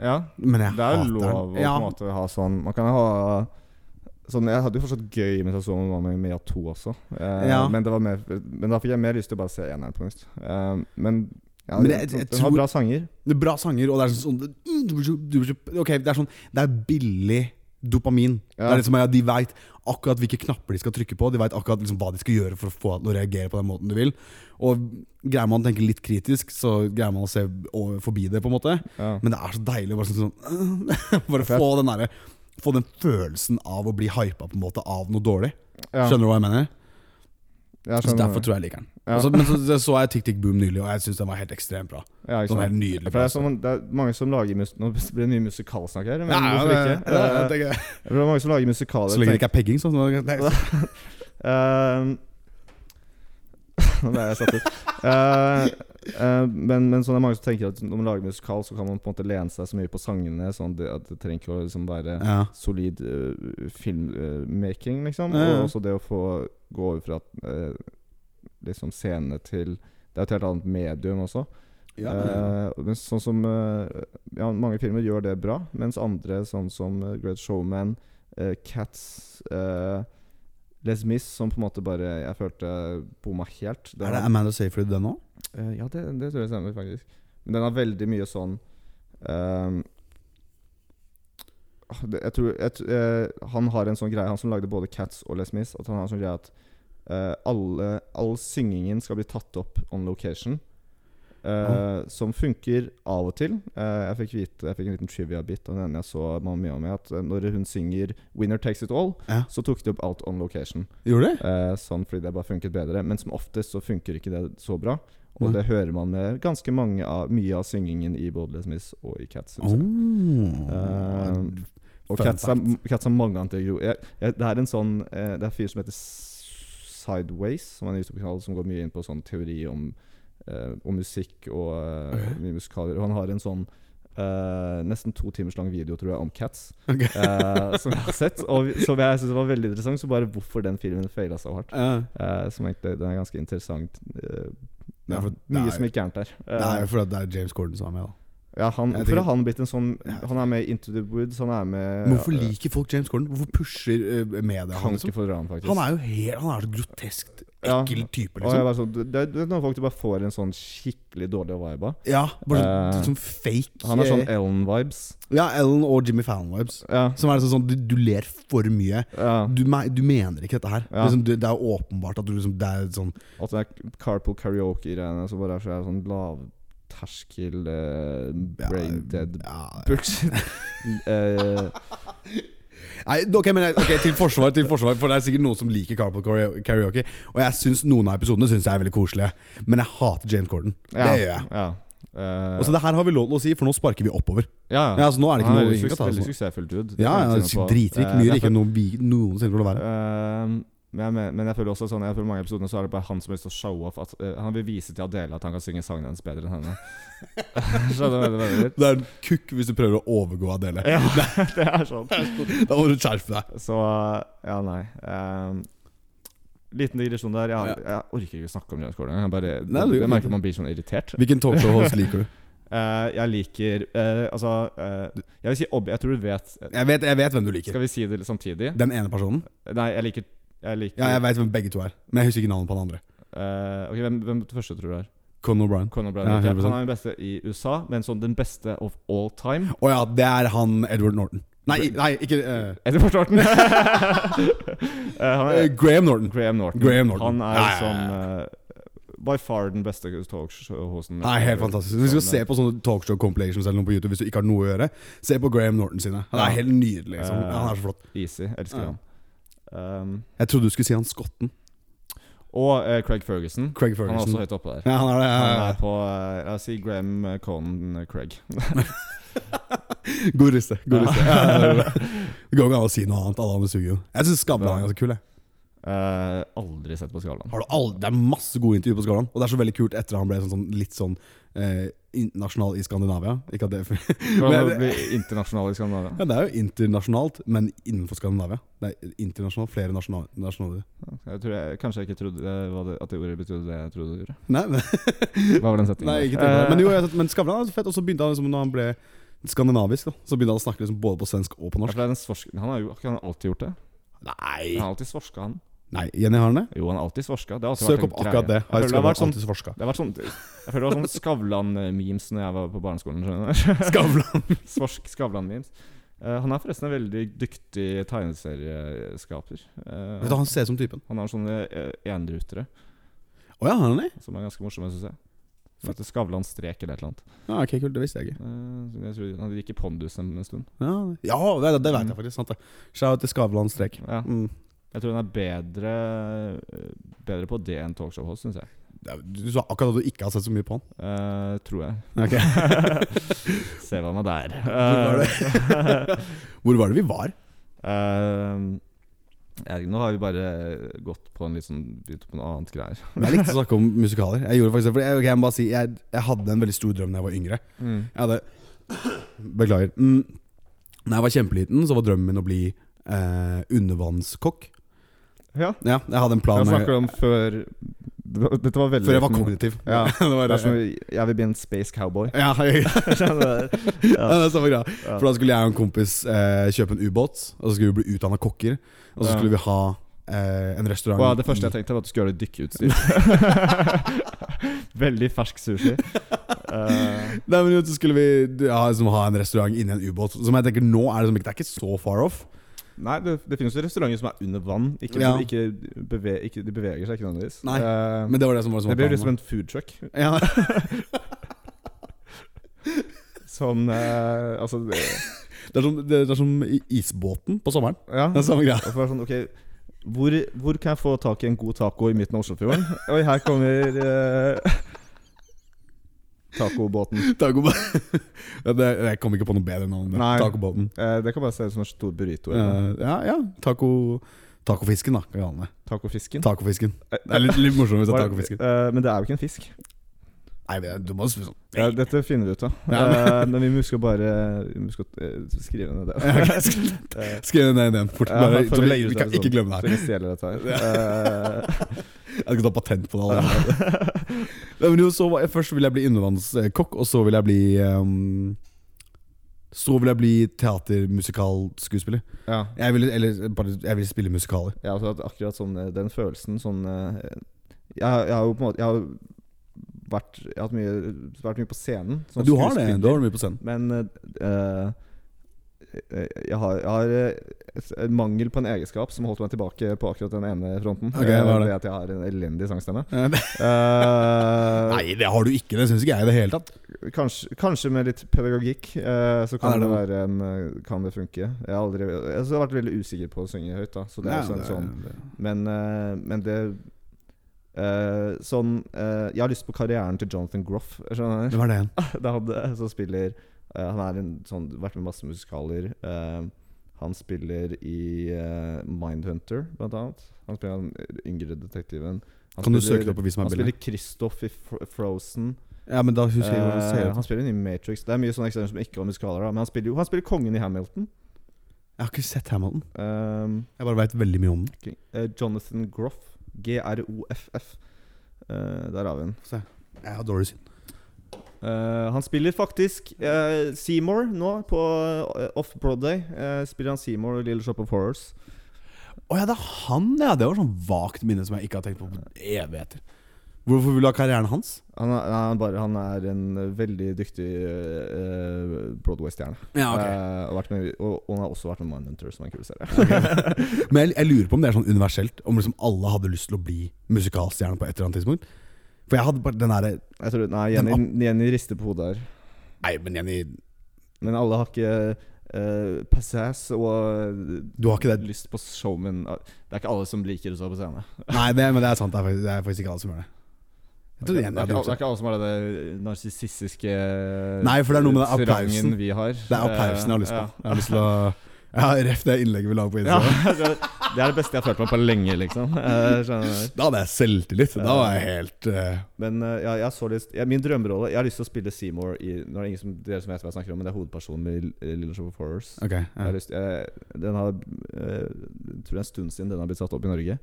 S1: ja,
S2: Men jeg
S1: det er jo
S2: hater
S1: lov å på
S2: den.
S1: en måte ha sånn Man kan ha Sånn, jeg hadde jo fortsatt gøy sånn mens jeg så Mamma Mia 2 også, eh,
S2: Ja.
S1: men, det var mer, men da fikk jeg mer lyst til å bare se eneren på nytt. Eh, men ja,
S2: Men
S1: den-
S2: jeg- jeg
S1: den har
S2: tror-
S1: bra sanger.
S2: Det er bra sanger, og det er sånn sånn- du blir så- du blir så- Ok, det er sånn Det er billig dopamin.
S1: Ja.
S2: Det er liksom, ja, de veit akkurat hvilke knapper de skal trykke på. De veit akkurat liksom, hva de skal gjøre for å få deg til å reagere på den måten du vil. Og greier man å tenke litt kritisk, så greier man å se over, forbi det, på en måte.
S1: Ja.
S2: Men det er så deilig å bare sånn, sånn Bare
S1: Fett.
S2: få den derre Få den følelsen av å bli hypa på en måte av noe dårlig.
S1: Ja.
S2: Skjønner du hva jeg mener?
S1: Jeg
S2: Så
S1: skjønner
S2: derfor
S1: det.
S2: tror jeg jeg liker den.
S1: Ja.
S2: Og så- men så, så så jeg Tick Tick Boom nylig, og jeg syns den var helt ekstremt bra.
S1: Ja, ikke sant?
S2: Sånn helt nydelig.
S1: For det, er sånn, det er mange som lager mus Nå blir det mye musikalsnakk her, men
S2: Ja, ja,
S1: hvorfor
S2: det-
S1: ikke?
S2: ja,
S1: Eh,
S2: det tenker jeg.
S1: for det er mange som lager musikaler
S2: Så lenge det ikke er pegging, sånn. Nei, så-
S1: Ehm, Nå ble jeg satt ut. Eh, eh, men, men sånn er det mange som tenker at når man lager musikal, så kan man på en måte lene seg så mye på sangene sånn det, at det trenger ikke å liksom være
S2: Ja.
S1: solid eh, filmmaking, liksom.
S2: Ja, ja.
S1: Og også det å få gå over fra eh, liksom scene til Det er et helt annet medium også. Eh, men sånn som eh, ja, Mange filmer gjør det bra, mens andre, sånn som eh, Great Showman, eh, Cats eh, Les Mis, som på en måte bare Jeg følte bomma helt. Den
S2: er det
S1: har-
S2: Amanda Seyfried, den òg?
S1: eh, ja, det, det tror jeg stemmer, faktisk. Men den har veldig mye sånn ehm, ah, det, Jeg tror jeg, tr- eh, Han har en sånn greie, han som lagde både Cats og Les Mis, at han har en sånn greie at eh, alle, all syngingen skal bli tatt opp on location. eh, Som funker av og til. Eh, jeg fikk vite Jeg fikk en liten trivia-bit av den ene jeg så Mamma Mia med, at eh, når hun synger 'Winner Takes It All',
S2: Ja.
S1: så tok de opp alt on location.
S2: Gjorde det?
S1: Eh, sånn fordi det bare funket bedre. Men som oftest så funker ikke det så bra. Og
S2: Nei.
S1: det hører man med ganske mange av, mye av syngingen i både Les Mis og i Cats. synes jeg.
S2: Oh.
S1: Eh, og
S2: fun
S1: Cats har,
S2: fact.
S1: Cats har mange antigro... Jeg, jeg, det er en sånn eh, Det er en fyr som heter S- Sideways, som er en YouTube-kanal som går mye inn på sånn teori om, eh, om musikk og eh, mye musikaler. Og han har en sånn eh, nesten to timers lang video, tror jeg, om Cats.
S2: Ok.
S1: eh, som jeg har sett, og vi- som jeg syns var veldig interessant. Så bare hvorfor den filmen feila så hardt.
S2: Ja.
S1: Eh, som egentlig den er ganske interessant. Eh,
S2: Ja,
S1: ja,
S2: for det
S1: mye
S2: er-
S1: som gikk gærent der. Eh,
S2: Det er jo fordi det er James Corden som er med, da.
S1: ja, han,
S2: jeg
S1: hvorfor
S2: tenker-
S1: har han blitt en sånn Han er med i Into the Woods, han er med
S2: Men Hvorfor
S1: ja,
S2: liker folk James Corden? Hvorfor pusher eh, media
S1: Kan
S2: han?
S1: ikke
S2: Liksom?
S1: fordra han, faktisk.
S2: Han er jo helt Han er så groteskt
S1: Ja.
S2: ekkel type,
S1: og jeg
S2: liksom.
S1: bare sånn, det, det, det er noen folk du bare får en sånn skikkelig dårlig vibe av.
S2: Ja, bare sånn,
S1: Eh,
S2: sånn fake
S1: Han har sånn
S2: eh,
S1: Ellen-vibes.
S2: Ja, Ellen og Jimmy Fallon-vibes.
S1: Ja,
S2: Som er liksom sånn du, du ler for mye.
S1: ja.
S2: Du, me- du mener ikke dette her.
S1: Ja.
S2: Liksom, det, det er jo åpenbart at du liksom Det er sånn
S1: Og så er carpool karaoke-greiene som bare er så sånn lavterskel eh,
S2: ja,
S1: brain dead
S2: ja.
S1: bullshit. Eh,
S2: Nei, ok, men jeg- ok, til forsvar, til forsvar, for det er sikkert noen som liker Carpool Karaoke- Karaoke. Og jeg syns noen av episodene synes jeg er veldig koselige, men jeg hater James Corden.
S1: ja,
S2: Det gjør jeg.
S1: Ja. Eh,
S2: Og så det her har vi lov til å si, for nå sparker vi oppover.
S1: ja,
S2: Ja, altså nå er det ikke
S1: Han er
S2: noe
S1: veldig,
S2: ingen
S1: suks
S2: kan ta
S1: veldig
S2: sånn.
S1: suksessfull dude.
S2: Ja, ja,
S1: det kan jeg si noe
S2: dritrik.
S1: på. Eh,
S2: Mye
S1: derfor-
S2: rikere enn noen vi noensinne kommer til å være.
S1: Ehm, men, jeg, men- men jeg føler også sånn Jeg føler mange episoder så er det bare han som har lyst til å show off at, eh, Han vil vise til Adele at han kan synge sangen hennes bedre enn henne. Skjønner du hva jeg mener?
S2: Det er en kukk hvis du prøver å overgå Adele.
S1: Ja, det er sånn.
S2: Da må du skjerpe deg.
S1: Så ja, nei. Ehm, liten digresjon der. Jeg, har- jeg orker ikke snakke om James Corden. Jeg, bare,
S2: Nei,
S1: jeg,
S2: det går
S1: merker
S2: fint.
S1: man blir sånn irritert.
S2: Hvilken talkshow-host liker du?
S1: Eh, jeg liker eh, Altså, eh, jeg vil si ob Jeg tror du vet
S2: Jeg vet, jeg vet hvem du liker.
S1: Skal vi si det samtidig?
S2: Den ene personen?
S1: Nei, jeg liker Jeg liker
S2: Ja, jeg vet hvem begge to er. Men jeg husker ikke navnet på den andre.
S1: eh, Ok, hvem, hvem første tror du er?
S2: Conor O'Brien.
S1: Conor
S2: Ja,
S1: Bradley.
S2: 100%.
S1: han er den beste i USA, men sånn den beste of all time.
S2: Å ja, det er han Edward Norton. Nei, i- nei ikke eh,
S1: Edward Norton! Eh, han
S2: eh,
S1: er
S2: Graham Norton.
S1: Graham Norton.
S2: Graham Norton.
S1: Han er
S2: Ja, ja, ja.
S1: sånn eh, By far den beste talkshow-hosten.
S2: Nei, helt fantastisk. Hvis du skal se på sånne talkshow compilations eller noe på YouTube hvis du ikke har noe å gjøre, se på Graham Norton sine. Han er
S1: Ja.
S2: helt nydelig. Liksom.
S1: Eh.
S2: Han er så flott.
S1: Easy. Elsker
S2: Ja.
S1: han. Um,
S2: Jeg trodde du skulle si han skotten.
S1: og eh, Craig Ferguson.
S2: Craig
S1: Han er
S2: Ferguson.
S1: også høyt oppe der.
S2: Ja, han er det. ja,
S1: Han
S2: ja,
S1: er på eh, La oss si Graham eh, Conan eh, Craig.
S2: ja. God liste. God
S1: Ja.
S2: liste. Ja, ja, ja. Det går ikke an å si noe annet. Alle andre suger jo. Jeg syns Skavlan er ganske kul. Jeg.
S1: Eh, aldri sett på skalaen.
S2: Har du aldri, det er masse gode intervjuer på Skavlan, og det er så veldig kult etter han ble sånn, sånn, litt sånn eh, internasjonal i Skandinavia. Ikke at det,
S1: Hvordan
S2: Men-
S1: blir internasjonal i Skandinavia?
S2: ja, det er jo internasjonalt, men innenfor Skandinavia. Det er internasjonalt, flere nasjonal, nasjonaler.
S1: Jeg tror jeg, kanskje jeg ikke trodde eh, hva det, at det ordet betydde det jeg trodde det gjorde.
S2: Nei, nei,
S1: Hva var den setningen?
S2: nei ikke tenk på det. Men, jo, jeg, men Skavlan er så fett, og så begynte han liksom, når han ble skandinavisk, da, så begynte han å snakke liksom, både på svensk og på
S1: Ja, for
S2: norsk.
S1: det er den svorsk- han har jo ikke han har alltid gjort det.
S2: Nei,
S1: Han har alltid svorska, han.
S2: nei Jenny har han det?
S1: Jo, han har alltid svorska. Det har også
S2: Søk
S1: vært en
S2: opp akkurat det.
S1: greie. Jeg føler
S2: Har
S1: det har
S2: Skavlan
S1: vært sånn,
S2: alltid forska?
S1: det har vært sånn Jeg føler det var sånn Skavlan-memes Når jeg var på barneskolen. skjønner
S2: Skavlan!
S1: du? Svorsk Skavlan-memes. Eh, han er forresten en veldig dyktig tegneserieskaper. Eh,
S2: Vet du, Han ser ut som typen.
S1: han har sånne uh, enrutere
S2: Å ja, har han det?
S1: som er ganske morsomme, syns jeg. Som heter Skavlan strek eller et eller annet.
S2: Ja, ok, kult, Det visste jeg ikke.
S1: Eh, jeg tror han gikk i Pondus en, en stund.
S2: Ja, det, ja, det, det vet jeg faktisk. Sant det. Shout til Skavlan strek.
S1: Ja.
S2: Mm.
S1: Jeg tror hun er bedre, eh, bedre på det enn talkshow-host, syns jeg.
S2: Ja, Du sa akkurat at du ikke har sett så mye på han.
S1: Eh, tror jeg.
S2: Ok.
S1: Se hva med der.
S2: var Hvor var det vi var?
S1: Eh, ehm, nå har vi bare gått på en litt sånn Begynt på noe annet greier.
S2: Men Jeg likte å snakke om musikaler. Jeg gjorde faktisk det, for jeg, ok, jeg, må bare si, jeg, jeg hadde en veldig stor drøm da jeg var yngre.
S1: Mm.
S2: Jeg hadde, beklager. Mm, da jeg var kjempeliten, så var drømmen min å bli eh, undervannskokk.
S1: Ja.
S2: Ja, jeg hadde en plan
S1: Jeg
S2: med-
S1: snakker om før Dette var veldig
S2: før jeg var kognitiv.
S1: Ja.
S2: det var,
S1: Det er som Jeg vil bli en space cowboy.
S2: ja, jeg,
S1: Skjønner du?
S2: ja, det er samme greia.
S1: Ja.
S2: For da skulle jeg og en kompis eh, kjøpe en ubåt, og så skulle vi bli utdanna kokker. Og så
S1: Ja.
S2: skulle vi ha eh, en restaurant
S1: Og det første jeg tenkte, var at du skulle gjøre dykkeutstyr. veldig fersk sushi. Eh,
S2: Nei, men jo, så skulle vi ja, liksom, ha en restaurant inni en ubåt. Som jeg tenker nå er det, liksom, ikke- det er ikke så far off.
S1: nei, det, det finnes jo restauranter som er under vann. Ikke,
S2: Ja.
S1: ikke, beve, ikke, de beveger seg ikke nødvendigvis.
S2: Nei,
S1: Eh,
S2: Men det var det som var, som
S1: det
S2: var
S1: blir jo
S2: planen.
S1: liksom en food truck.
S2: Ja.
S1: Sånn eh, Altså det-
S2: Det er som, det er som i- isbåten på sommeren.
S1: Ja.
S2: Det er samme greia.
S1: Og så var det sånn, ok hvor, hvor kan jeg få tak i en god taco i midten av Oslofjorden? Oi, her kommer eh, tacobåten.
S2: Taco- Ja, det, jeg kom ikke på noe bedre navn. enn det.
S1: Nei.
S2: Tacobåten.
S1: Eh, det kan bare se ut som en stor burrito. Eller.
S2: Eh, ja, ja. Taco, tacofisken, da. Kan vi kalle den det.
S1: Tacofisken.
S2: Tacofisken. Det er litt, litt morsommere hvis det er tacofisken.
S1: Eh, men det er jo ikke en fisk.
S2: Nei, men du må spise sånn.
S1: Ja, dette finner vi ut av. Eh, men vi må huske å bare vi må huske å eh, skrive ned det. Eh,
S2: Skriv ned ideen fort.
S1: ja,
S2: Bare,
S1: for
S2: så
S1: å
S2: vi,
S1: legge ut
S2: vi kan
S1: det
S2: ikke
S1: sånn.
S2: glemme
S1: Så
S2: det her.
S1: vi stjeler dette her. Eh,
S2: Jeg skal ta patent på det. Alle. Nei, men jo, så var jeg, først ville jeg bli innvandrerkokk, og så ville jeg bli ehm, Så ville jeg bli teatermusikalskuespiller.
S1: ja.
S2: Jeg ville, eller, bare, jeg ville spille musikaler.
S1: Jeg har også hatt akkurat sånn eh, den følelsen sånn eh, jeg, jeg har jo på en måte Jeg har vært, jeg har hatt mye, vært mye på scenen. som
S2: du har det
S1: skuespiller.
S2: du har det mye på scenen.
S1: Men eh, eh, jeg har, jeg har eh, et- en mangel på en egenskap som holdt meg tilbake på akkurat den ene fronten.
S2: Ok, hva er det?
S1: Eh, at jeg har en elendig sangstemme.
S2: Eh,
S1: Eh,
S2: Nei, det har du ikke. Det syns ikke jeg i det hele tatt.
S1: kanskje, kanskje med litt pedagogikk eh, så
S2: Ja,
S1: kan det,
S2: det er
S1: være en, eh, kan det funke. Jeg har, aldri, altså, jeg har vært veldig usikker på å synge høyt. Da, så det er også en sånn Men, eh, men det eh, Sånn eh, Jeg har lyst på karrieren til Jonathan Groff. Skjønner du?
S2: Hvem er det igjen?
S1: Det er han eh, som spiller eh, Han er en sånn vært med i masse musikaler. eh, han spiller i eh, Mindhunter, blant annet. Han spiller den yngre detektiven. Han
S2: Kan du
S1: spiller-
S2: søke det opp og vise
S1: Han
S2: meg
S1: spiller
S2: bildet?
S1: Kristoff i Fro- Frozen.
S2: Ja, men da husker jeg hva han
S1: Eh,
S2: ser
S1: han
S2: ut.
S1: spiller i Matrix. Det er mye sånne eksempler som ikke var musikaler. Da. Men han spiller jo han spiller kongen i Hamilton.
S2: Jeg har ikke sett Hamilton.
S1: Um,
S2: Jeg bare veit veldig mye om den.
S1: ok. Eh, Jonathan Groff. G-r-o-f-f. Eh, der har vi den.
S2: Jeg har dårlig syn.
S1: Eh, han spiller faktisk eh, Seymour nå, på eh, Off-Broadway. Eh, spiller han Seymour i Little Shop of Horrors.
S2: Å ja, det er han, ja! Det var sånn vagt minne som jeg ikke har tenkt på på evigheter. Hvorfor vil du ha karrieren hans?
S1: Han er, han er, bare, han er en eh, veldig dyktig eh, eh, Broadway-stjerne.
S2: Ja, Ah, ok.
S1: Eh, og, vært med i- og, og han har også vært med i Mindhunter, som er en kul serie.
S2: Men jeg, jeg lurer på om det er sånn universelt. Om liksom alle hadde lyst til å bli musikalstjerne på et eller annet tidspunkt. For jeg hadde bare den derre
S1: Jeg tror, nei, Jenny, Jenny rister på hodet her.
S2: Nei, men Jenny,
S1: Men alle har ikke eh, passass og
S2: du har ikke det.
S1: lyst på showman. Det er ikke alle som liker å stå på scenen.
S2: Nei, det, men det er sant. Det er faktisk, det er faktisk ikke alle som gjør det.
S1: Det
S2: Jeg trodde
S1: er,
S2: Jenny
S1: ikke,
S2: hadde gjort
S1: det
S2: det.
S1: er ikke alle som har det narsissistiske
S2: Nei, for det er noe med den
S1: serangen
S2: applausen.
S1: vi har. Eh,
S2: Det er applausen jeg har lyst på. Jeg har lyst til å Jeg har ref det innlegget vi la på
S1: Ja,
S2: Instagram.
S1: det det er det beste jeg har følt meg på lenge, liksom. Eh, skjønner du?
S2: Da hadde jeg selvtillit. Da var jeg helt eh,
S1: Men eh, ja, jeg har så lyst ja, Min drømmerolle Jeg har lyst til å spille Seymour i Nå er det ingen som, dere som vet hva jeg snakker om, men det er hovedpersonen i L- Little Shop of Horrors.
S2: Ok.
S1: Jeg
S2: Ja.
S1: har lyst, jeg, den har, eh, jeg tror det er en stund siden den har blitt satt opp i Norge.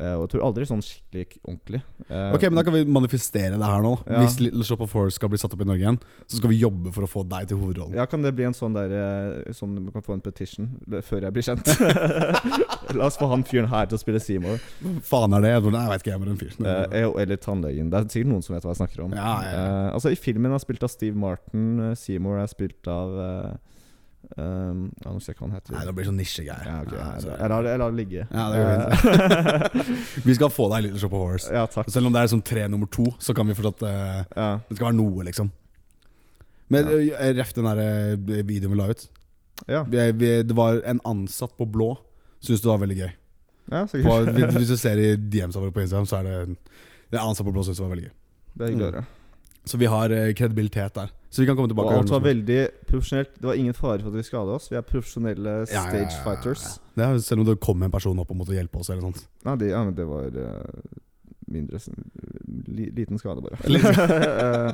S1: Eh, og jeg tror aldri sånn skikkelig ordentlig. Eh,
S2: Ok, men Da kan vi manifestere det her nå.
S1: Ja.
S2: Hvis Little Shop of Force skal bli satt opp i Norge igjen, så skal vi jobbe for å få deg til hovedrollen.
S1: ja, kan det bli en sånn der eh, Sånn man kan få en petition l- før jeg blir kjent? La oss få han fyren her til å spille Seymour.
S2: Faen er det? Jeg tror- Nei, jeg vet ikke, jeg er bare en fyr.
S1: Eh, eh, eller tannlegen. Det er sikkert noen som vet hva jeg snakker om.
S2: Ja, ja,
S1: Eh, altså I filmen er spilt av Steve Martin. eh, Seymour er spilt av eh, um, ja, Nå husker jeg ikke hva han heter.
S2: Nei, det blir sånn nisjegreier.
S1: ja, ok,
S2: Ja,
S1: jeg,
S2: sorry.
S1: jeg, lar, jeg lar det ligge.
S2: Ja, det vi skal få deg Little Shop of Horrors.
S1: Eh, ja, takk.
S2: Selv om det er sånn tre nummer to, så kan vi fortsatt eh,
S1: Ja.
S2: Det skal være noe, liksom. Men eh, ref den der eh, videoen vi la ut.
S1: ja.
S2: Vi, vi, det var en ansatt på blå. Syns det var veldig gøy.
S1: Ja,
S2: På,
S1: sikkert.
S2: hvis, hvis du ser i DMs våre på Instagram, så er det en, det er en ansatt på Blå Søs som var veldig gøy.
S1: Det er hyggelig å høre.
S2: Så vi har eh, kredibilitet der. Så vi kan
S1: Og
S2: komme Mm, tilbake
S1: alt var veldig profesjonelt. Det var ingen fare for at vi skada oss. Vi er profesjonelle
S2: Ja, ja, ja, ja.
S1: stage fighters.
S2: det er, Selv om det kom en person opp og måtte hjelpe oss. Eller noe sånt.
S1: Nei, det, ja, men det var eh, mindre s- li, Liten skade, bare. Eh,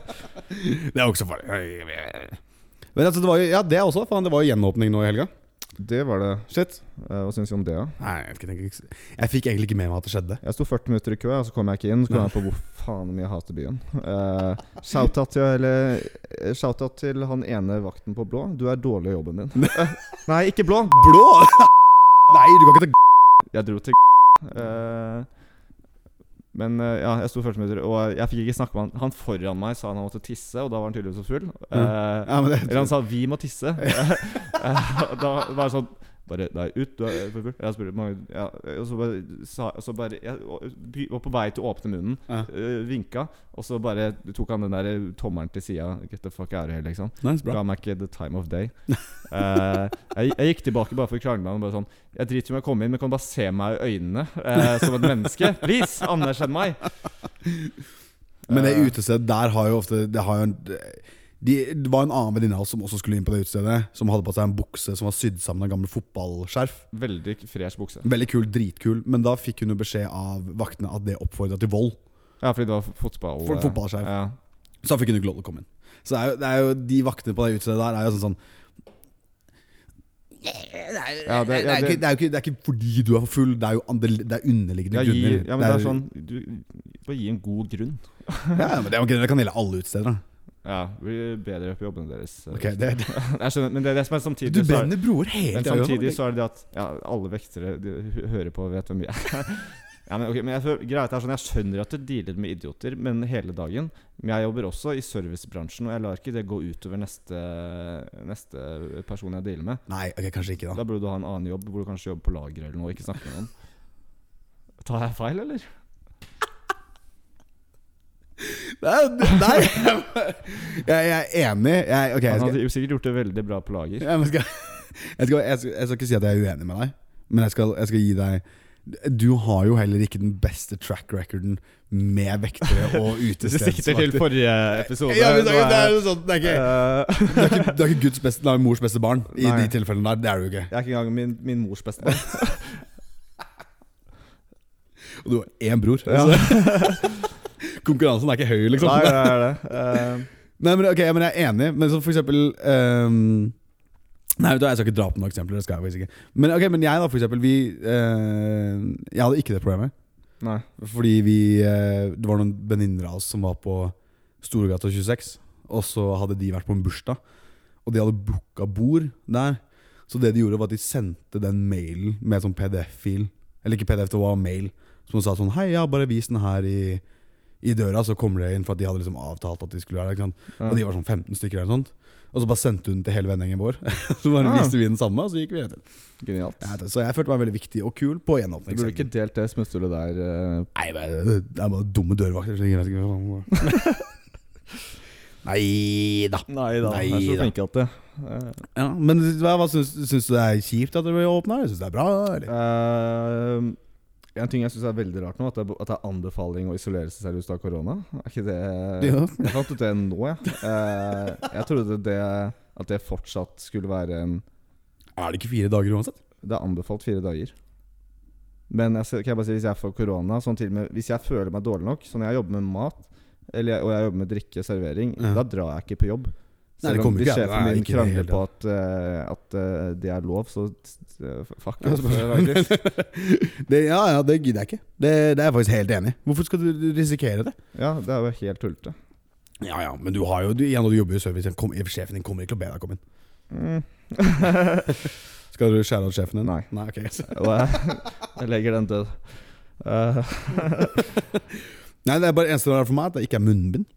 S2: Det er jo ikke så farlig. Men altså, det var jo, ja, det også. Faen, det var jo gjenåpning nå i helga.
S1: det var det.
S2: Shit.
S1: Eh, hva syns vi om det, da?
S2: Nei, jeg, vet ikke, jeg, tenker ikke- jeg fikk egentlig ikke med meg at det skjedde.
S1: Jeg sto 40 minutter i kø, og så kom jeg ikke inn. Så kom jeg på hvor faen mye jeg hater byen. Eh, Shout-out til, eller, eh, shout-out til han ene vakten på blå. Du er dårlig i jobben din. Eh, Nei, ikke blå!
S2: Blå! Nei, du kan ikke ta
S1: Jeg dro til eh, Men eh, ja, jeg sto 40 minutter, og jeg fikk ikke snakke med han. Han foran meg sa han måtte tisse, og da var han tydeligvis så full. Eh,
S2: Ja, men det,
S1: Eller han sa 'vi må tisse'. Eh, og da var det sånn bare, Nei, ut, du er for full. Jeg spurte mange ja, Og så bare, sa, og så bare Jeg by- var på vei til å åpne munnen,
S2: Ja.
S1: eh, vinka, og så bare tok han den der eh, tommelen til sida. Get the fuck out of here, liksom.
S2: Nei, så bra.
S1: Ga meg ikke the time of day. Eh, jeg, jeg gikk tilbake bare for å krangle med ham. Bare sånn Jeg driter i om jeg kommer inn, men kan du bare se meg i øynene eh, som et menneske? Please! Anerkjenn meg!
S2: Men det
S1: Eh,
S2: utestedet der har jo ofte Det, har jo en, de, det var en annen venninne av oss som også skulle inn på det utestedet. Som hadde på seg en bukse som var sydd sammen av gammel fotballskjerf.
S1: Veldig fresh bukse.
S2: Veldig kul, dritkul. Men da fikk hun jo beskjed av vaktene at det oppfordra til vold.
S1: Ja, fordi det var fotball. eh,
S2: For- fotballskjerf.
S1: Ja.
S2: Så da fikk hun jo ikke lov til å komme inn. Så det er jo, det er jo de vaktene på det utestedet der er jo sånn sånn
S1: Ja, det-
S2: det,
S1: ja,
S2: er ikke,
S1: det-
S2: det, er jo ikke, det er ikke fordi du er full, det er jo andre, det er underliggende
S1: Ja, gi,
S2: grunner.
S1: ja, men det er sånn du, Bare gi en god grunn.
S2: ja, ja, men det, er jo ikke- det kan gjelde alle utesteder. da.
S1: Ja, blir bedre på jobbene deres.
S2: Ok, det, det,
S1: Jeg skjønner, men det, det som er samtidig
S2: du
S1: så er,
S2: brenner broer hele
S1: men
S2: tida.
S1: samtidig så er det det at ja, alle vektere de, hø- hører på og vet hvem vi er. Ja, men, ok, men jeg, føler- greia er sånn, jeg skjønner at du dealer med idioter men hele dagen. Men jeg jobber også i servicebransjen, og jeg lar ikke det gå utover neste, neste person jeg dealer med.
S2: Nei, ok, kanskje ikke, da.
S1: Da burde du ha en annen jobb, hvor du kanskje jobber på lager eller noe, og ikke snakke med noen. Tar jeg feil, eller?
S2: Nei, nei. Jeg, jeg er enig. Jeg, ok, jeg
S1: Han
S2: skal,
S1: hadde jo sikkert gjort det veldig bra på lager.
S2: jeg, skal, jeg, skal, jeg, skal, jeg skal ikke si at jeg er uenig med deg, men jeg skal, jeg skal gi deg Du har jo heller ikke den beste track recorden med vektere og utestedsvakter.
S1: forrige episode.
S2: Ja, men det er- det er jo sånn, det er ikke-
S1: Eh,
S2: du er ikke, du er ikke Guds beste, nei, mors beste barn i
S1: Nei.
S2: de tilfellene der. Det er du ikke.
S1: Jeg er ikke engang min, min mors bestemann.
S2: Og du har én bror.
S1: Ja.
S2: så Konkurransen er ikke høy, liksom.
S1: Nei, det er det. Eh,
S2: Nei, men, ok, men jeg er enig, men så for eksempel ehm, Nei, vet du, hva, jeg skal ikke dra på noen eksempler. Det skal jeg faktisk ikke. Men, ok, men jeg, da, for eksempel. Vi, eh, jeg hadde ikke det problemet.
S1: nei.
S2: Fordi vi, eh, det var noen venninner av oss som var på Storgata 26. Og så hadde de vært på en bursdag, og de hadde booka bord der. Så det de gjorde, var at de sendte den mailen med sånn PDF-fil. Eller ikke PDF, det var mail. Som sa sånn Hei, ja, bare vis den her i, i døra, så kommer dere inn. For at de hadde liksom avtalt at de skulle være der. Ikke sant? Og de var sånn 15 stykker eller noe sånt. Og så bare sendte hun den til hele vennegjengen vår. så bare
S1: Ah.
S2: viste vi den samme, og så gikk vi rett inn.
S1: Genialt.
S2: Ja, Så jeg følte meg veldig viktig og kul
S1: Du
S2: på
S1: burde ikke
S2: gjenåpningshelgen.
S1: delt det smutthullet der. eh,
S2: Nei, men det det er bare dumme dørvakter. så jeg vet ikke hva faen- Nei da.
S1: Nei da.
S2: Nei
S1: jeg er så
S2: da.
S1: flink at det. Eh,
S2: Ja, men hva, hva syns, syns du det er kjipt at det ble åpna? Syns du det er bra? Eller?
S1: eh, en ting jeg syns er veldig rart nå, at det, er- at det er anbefaling å isolere seg seriøst av korona. Er ikke det
S2: Ja.
S1: Jeg fant ut det nå, jeg. Eh, jeg trodde det, at det fortsatt skulle være en
S2: Er det ikke fire dager uansett?
S1: Det er anbefalt fire dager. Men jeg, ser- kan jeg bare si hvis jeg får korona sånn til og med, Hvis jeg føler meg dårlig nok, sånn jeg jobber med mat eller jeg, og jeg jobber med drikke servering,
S2: Ja.
S1: da drar jeg ikke på jobb.
S2: Nei, det
S1: Selv om
S2: kommer
S1: de
S2: ikke an-
S1: sjefen
S2: nei,
S1: min
S2: ikke i det
S1: krangler
S2: hele
S1: på at, eh, at eh, det er lov, så eh, fuck
S2: Ja,
S1: off. faktisk.
S2: Det, ja, ja, det gidder jeg ikke. Det, det er jeg faktisk helt enig i. Hvorfor skal du risikere det?
S1: Ja, det er jo helt tullete.
S2: Ja ja, men du har jo du, igjen, og du jobber jo i service. Kom, eh, sjefen din kommer ikke til å be deg komme inn.
S1: Mm.
S2: Skal du skjære av sjefen din?
S1: Nei.
S2: Nei ok
S1: Og jeg, jeg legger den død. Eh,
S2: Nei, det er bare eneste det er for meg, at det ikke er munnbind.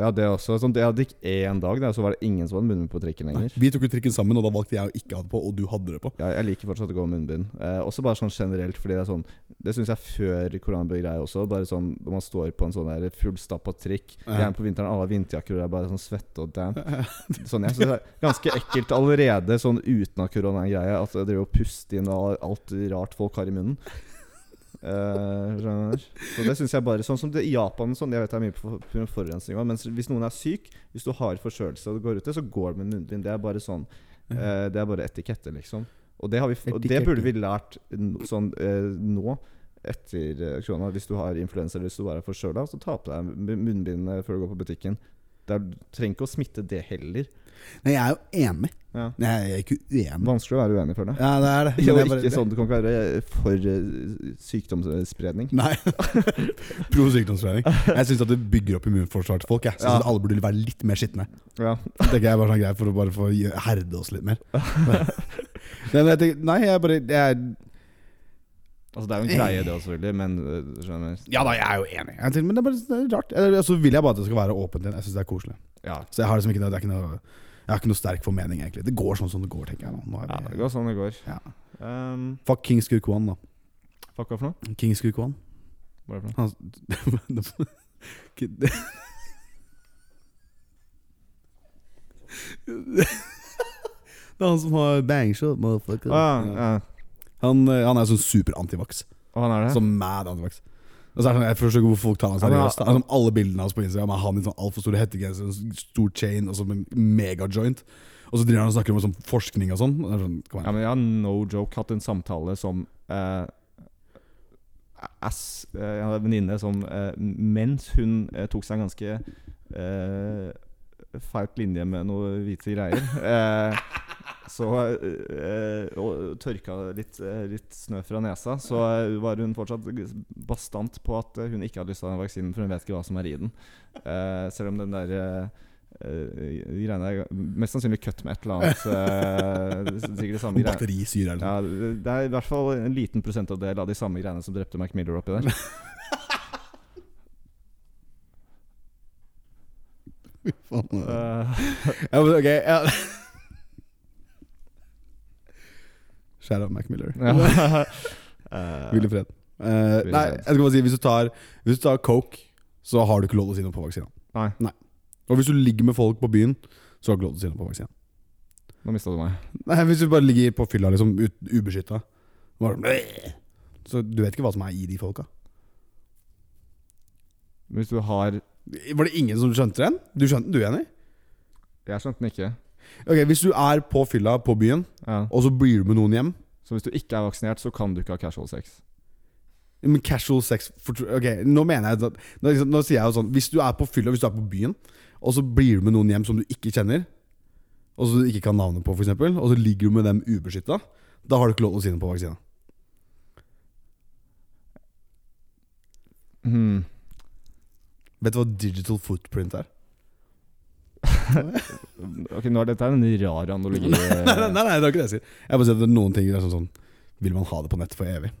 S1: ja, det er også sånn, det hadde ikke én dag, der, så var det ingen som hadde munnbind på trikken lenger.
S2: Vi tok jo trikken sammen, og da valgte jeg å ikke ha det på, og du hadde det på.
S1: Jeg, jeg liker fortsatt å gå med munnbind. Eh, også bare sånn generelt, fordi det er sånn Det syns jeg før koronabegreia også. Bare sånn når man står på en sånn der fullstappa trikk,
S2: Ja.
S1: gjerne på vinteren, alle har vinterjakker, og det er bare sånn svette og damp. Sånn, jeg synes det er ganske ekkelt allerede, sånn uten at korona er en greie, at jeg driver og puster inn all- alt rart folk har i munnen. Eh, skjønner du? så det synes jeg bare Sånn som det i Japan sånn, Jeg vet det er mye på på grunn av forurensning også, Men hvis noen er syk Hvis du har forkjølelse og du går ute Så går det med munnen din Det er bare sånn eh, Det er bare etikette liksom Og det, har vi, f- og det
S2: Etikette.
S1: burde vi lært n- Sånn eh, nå Etter eh, korona Hvis du har influensa Eller hvis du bare er forkjølet Så ta på deg mu- munnbindet Før du går på butikken Det er, du trenger ikke å smitte det heller
S2: Nei, jeg er jo enig.
S1: Ja.
S2: Nei, jeg er ikke uenig.
S1: Vanskelig å være uenig for det
S2: Ja, det er det.
S1: Jo,
S2: Men jeg bare-
S1: ikke sånn Du kan ikke være for eh, sykdomsspredning
S2: Nei. Pro sykdomsforening. Jeg syns det bygger opp immunforsvaret til folk. Jeg synes
S1: Ja.
S2: at alle burde være litt mer skitne.
S1: Ja
S2: Det tenker jeg er bare sånn greit for å bare få gjø- herde oss litt mer. Nei, men jeg tenker, nei, jeg bare jeg, er-
S1: Altså Det er jo en greie, det også, selvfølgelig, men øh, skjønner du?
S2: Ja da, jeg er jo enig. Jeg tenker, men det er bare det er rart. Eller, Og så vil jeg bare at det skal være åpent igjen. Jeg syns det er koselig.
S1: Ja.
S2: Så jeg har liksom ikke noe, det er ikke noe jeg har ikke noe sterk formening, egentlig. Det går sånn som det går, tenker jeg. nå. Nå
S1: ja,
S2: er
S1: det
S2: vi,
S1: går sånn det går.
S2: Ja.
S1: Um,
S2: Fuck King Skurk One, da.
S1: fuck off nå.
S2: King Skurk One.
S1: Hva er det for noe?
S2: Han Kid- Det er han som har bangshot, motherfucker.
S1: Ah,
S2: Ja.
S1: ja.
S2: Han, eh, han er sånn super antivax.
S1: Og han er det?
S2: Sånn mad antivax. Og så er det sånn, jeg forstår ikke hvor folk tar han
S1: Ja, men
S2: seriøst. da. Altså, alle bildene hans på Instagram er han i sånn altfor store hettegenser, en stor chain og sånn en megajoint. Og så driver han og snakker om sånn forskning og sånn. Og det er sånn kom
S1: Ja, men
S2: igjen.
S1: jeg har no joke hatt en samtale som eh, ass, eh, Jeg hadde en venninne som eh, mens hun eh, tok seg en ganske eh, feit linje med noe hvite greier eh, Så eh, Og tørka litt, eh, litt snø fra nesa, så eh, var hun fortsatt bastant på at eh, hun ikke hadde lyst til å ha den vaksinen, for hun vet ikke hva som er i den. Eh, selv om den der eh, eh, greiene er mest sannsynlig cut med et eller annet. eh, sikkert det samme
S2: Noen
S1: greia.
S2: Batterisyre eller noe.
S1: Ja, det det er i hvert fall en liten prosentandel av de samme greiene som drepte Mac Miller oppi der.
S2: Faen.
S1: Eh,
S2: Ja, men ok, ja. Shout out Mac Miller.
S1: ja.
S2: Hvil i fred. Eh,
S1: i
S2: nei,
S1: fred.
S2: jeg skal bare si hvis du, tar, hvis du tar coke, så har du ikke lov til å si noe på vaksina.
S1: Nei.
S2: Og hvis du ligger med folk på byen, så har du ikke lov til å si noe på vaksina.
S1: Eh, Nå mista du meg.
S2: Nei, Hvis du bare ligger på fylla liksom ubeskytta, så du vet ikke hva som er i de folka.
S1: Hvis du har
S2: Var det ingen som skjønte den? Du skjønte den, du, Jenny?
S1: Jeg skjønte den ikke.
S2: Ok, Hvis du er på fylla på byen,
S1: Ja.
S2: og så blir du med noen hjem
S1: Så hvis du ikke er vaksinert, så kan du ikke ha casual sex.
S2: Men casual sex for, Ok, nå mener jeg at, nå, liksom, nå sier jeg jo sånn Hvis du er på fylla, hvis du er på byen Og så blir du med noen hjem som du ikke kjenner Og som du ikke kan navnet på for eksempel Og så ligger du med dem ubeskyttet Da har du ikke lov til å si noe på vaksina
S1: Hmm.
S2: Vet du hva digital footprint er?
S1: Ok, nå er Dette er en rar analogi.
S2: Nei, nei, nei, det er ikke det jeg sier Jeg bare sier at det er noen ting det er sånn, sånn Vil man ha det på nettet for evig?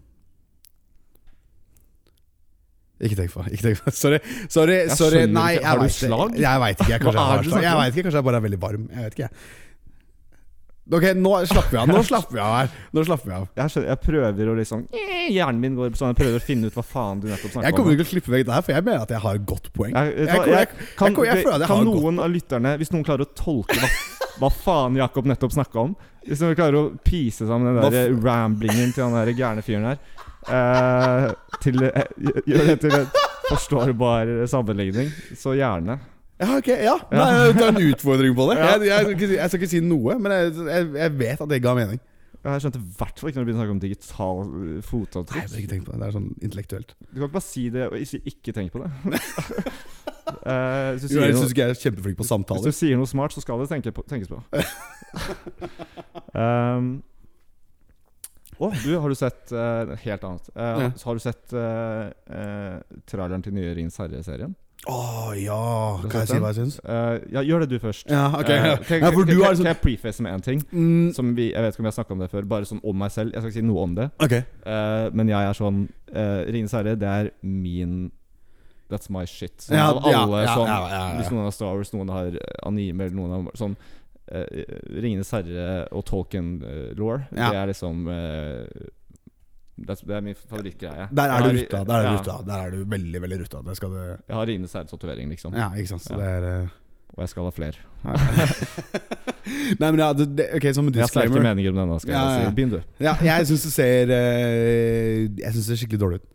S2: Ikke tenk på Ikke tenk på Sorry, sorry,
S1: Jeg
S2: sorry.
S1: skjønner
S2: Nei,
S1: ikke.
S2: jeg
S1: Har du
S2: vet ikke.
S1: slag?
S2: Jeg vet ikke, jeg
S1: Hva
S2: kanskje jeg
S1: er
S2: har
S1: det du
S2: slag
S1: snakker
S2: Jeg
S1: om?
S2: vet ikke, kanskje jeg bare er veldig varm Jeg vet ikke jeg. Ok, nå slapper vi av Nå slapper vi av her Nå slapper vi av
S1: Jeg, skjønner, jeg prøver å liksom Hjernen min går sånn. Jeg prøver å finne ut hva faen du nettopp snakka
S2: Jeg kommer ikke til å slippe vekk det her For jeg mener at jeg har et godt poeng
S1: Jeg, jeg,
S2: Jeg-
S1: jeg,
S2: jeg-
S1: kan,
S2: jeg- jeg føler at jeg har
S1: kan
S2: gått.
S1: noen av lytterne, hvis noen klarer å tolke hva, hva faen Jakob nettopp snakka om Hvis noen klarer å pise sammen den
S2: Hva
S1: der ramblingen til han der gærne fyren her eh, Til eh, Gjør det til en forstårbar sammenligning, så gjerne.
S2: Ja, ok, ja Nei, det er en utfordring på det jeg, jeg, skal ikke si- jeg skal ikke si noe Men jeg, jeg, jeg vet at det ga mening
S1: Jeg skjønte i hvert fall ikke når du begynner å snakke om digital eh,
S2: Nei, jeg
S1: fotavtrykk.
S2: har ikke tenkt på det Det er sånn intellektuelt
S1: Du kan ikke bare si det og ikke, ikke tenke på det. Eh, hvis, du
S2: Jo,
S1: sier
S2: Jeg
S1: noe,
S2: synes ikke jeg er kjempeflink på
S1: hvis
S2: samtaler
S1: du sier noe smart, så skal det tenke på, tenkes på. Um, og du, har du sett eh, Helt annet. Eh,
S2: Ja.
S1: Så har du sett eh, eh, traileren til nye Rings herre-serien?
S2: Å ja,
S1: Har du
S2: kan jeg
S1: sett
S2: si hva jeg syns?
S1: Eh, ja, gjør det du først.
S2: Ja, ok.
S1: Eh, kan,
S2: ja, for
S1: kan, kan,
S2: du har
S1: kan
S2: sånn
S1: jeg preface med én ting?
S2: mm,
S1: Som vi, jeg vet ikke om jeg har snakka om det før. Bare sånn om meg selv. Jeg skal ikke si noe om det.
S2: Ok.
S1: Eh, men jeg er sånn uh, Ringenes herre, det er min That's my shit. Sånn,
S2: Ja,
S1: av
S2: ja,
S1: alle
S2: ja,
S1: sånn
S2: ja, ja, ja.
S1: Hvis noen har Star Wars, noen har eh, anime eller noen har sånn eh, Ringenes herre og Tolkien-law, det
S2: Ja.
S1: er liksom eh, that's, Det er min favorittgreie.
S2: Der er
S1: Jeg
S2: du
S1: har-
S2: rutta. Der er du
S1: ja,
S2: rutta. Der er du veldig, veldig rutta. Det skal du
S1: Jeg har Ringenes herre-tatovering, liksom.
S2: Ja, ikke sant. Så det er eh,
S1: Og jeg skal ha flere.
S2: ja. Nei, men ja, det, det, ok, som en
S1: Jeg har sterke
S2: disclaimer.
S1: meninger om denne. skal
S2: Ja, ja,
S1: jeg
S2: ja.
S1: si Begynn, du.
S2: Ja, jeg syns det ser eh, Jeg synes det ser skikkelig dårlig ut.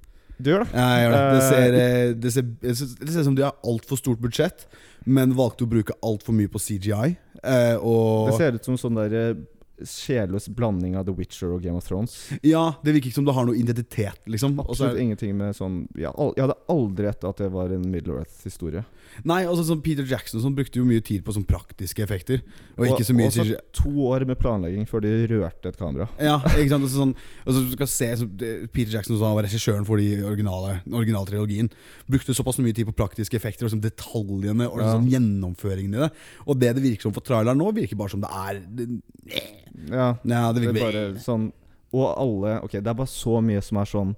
S1: Du gjør det.
S2: Ja, jeg gjør det. Det ser, eh, det ser, jeg synes- det ser ut som de har altfor stort budsjett, men valgte å bruke altfor mye på CGI. eh, og
S1: Det ser ut som sånn der eh, sjelløs blanding av The Witcher og Game of Thrones.
S2: Ja, det virker ikke som det har noe identitet, liksom. Og så er-
S1: Absolutt ingenting med sånn Jeg al- jeg hadde aldri gjetta at det var en Middle Earth-historie.
S2: Nei, altså sånn Peter Jackson sånn, brukte jo mye tid på sånn praktiske effekter. Og ikke så mye
S1: også
S2: CGI.
S1: to år med planlegging før de rørte et kamera.
S2: Ja, ikke sant? Altså, sånn, altså, du skal se, så, det- Peter Jackson som var regissøren for de originale, den originale trilogien, brukte såpass mye tid på praktiske effekter og sånn, detaljene og
S1: Ja.
S2: sånn, gjennomføringen i det. Og det det virker som for traileren nå, virker bare som det er det,
S1: Ja,
S2: Ja, det
S1: det er
S2: virker
S1: bare sånn Og alle Ok, det er bare så mye som er sånn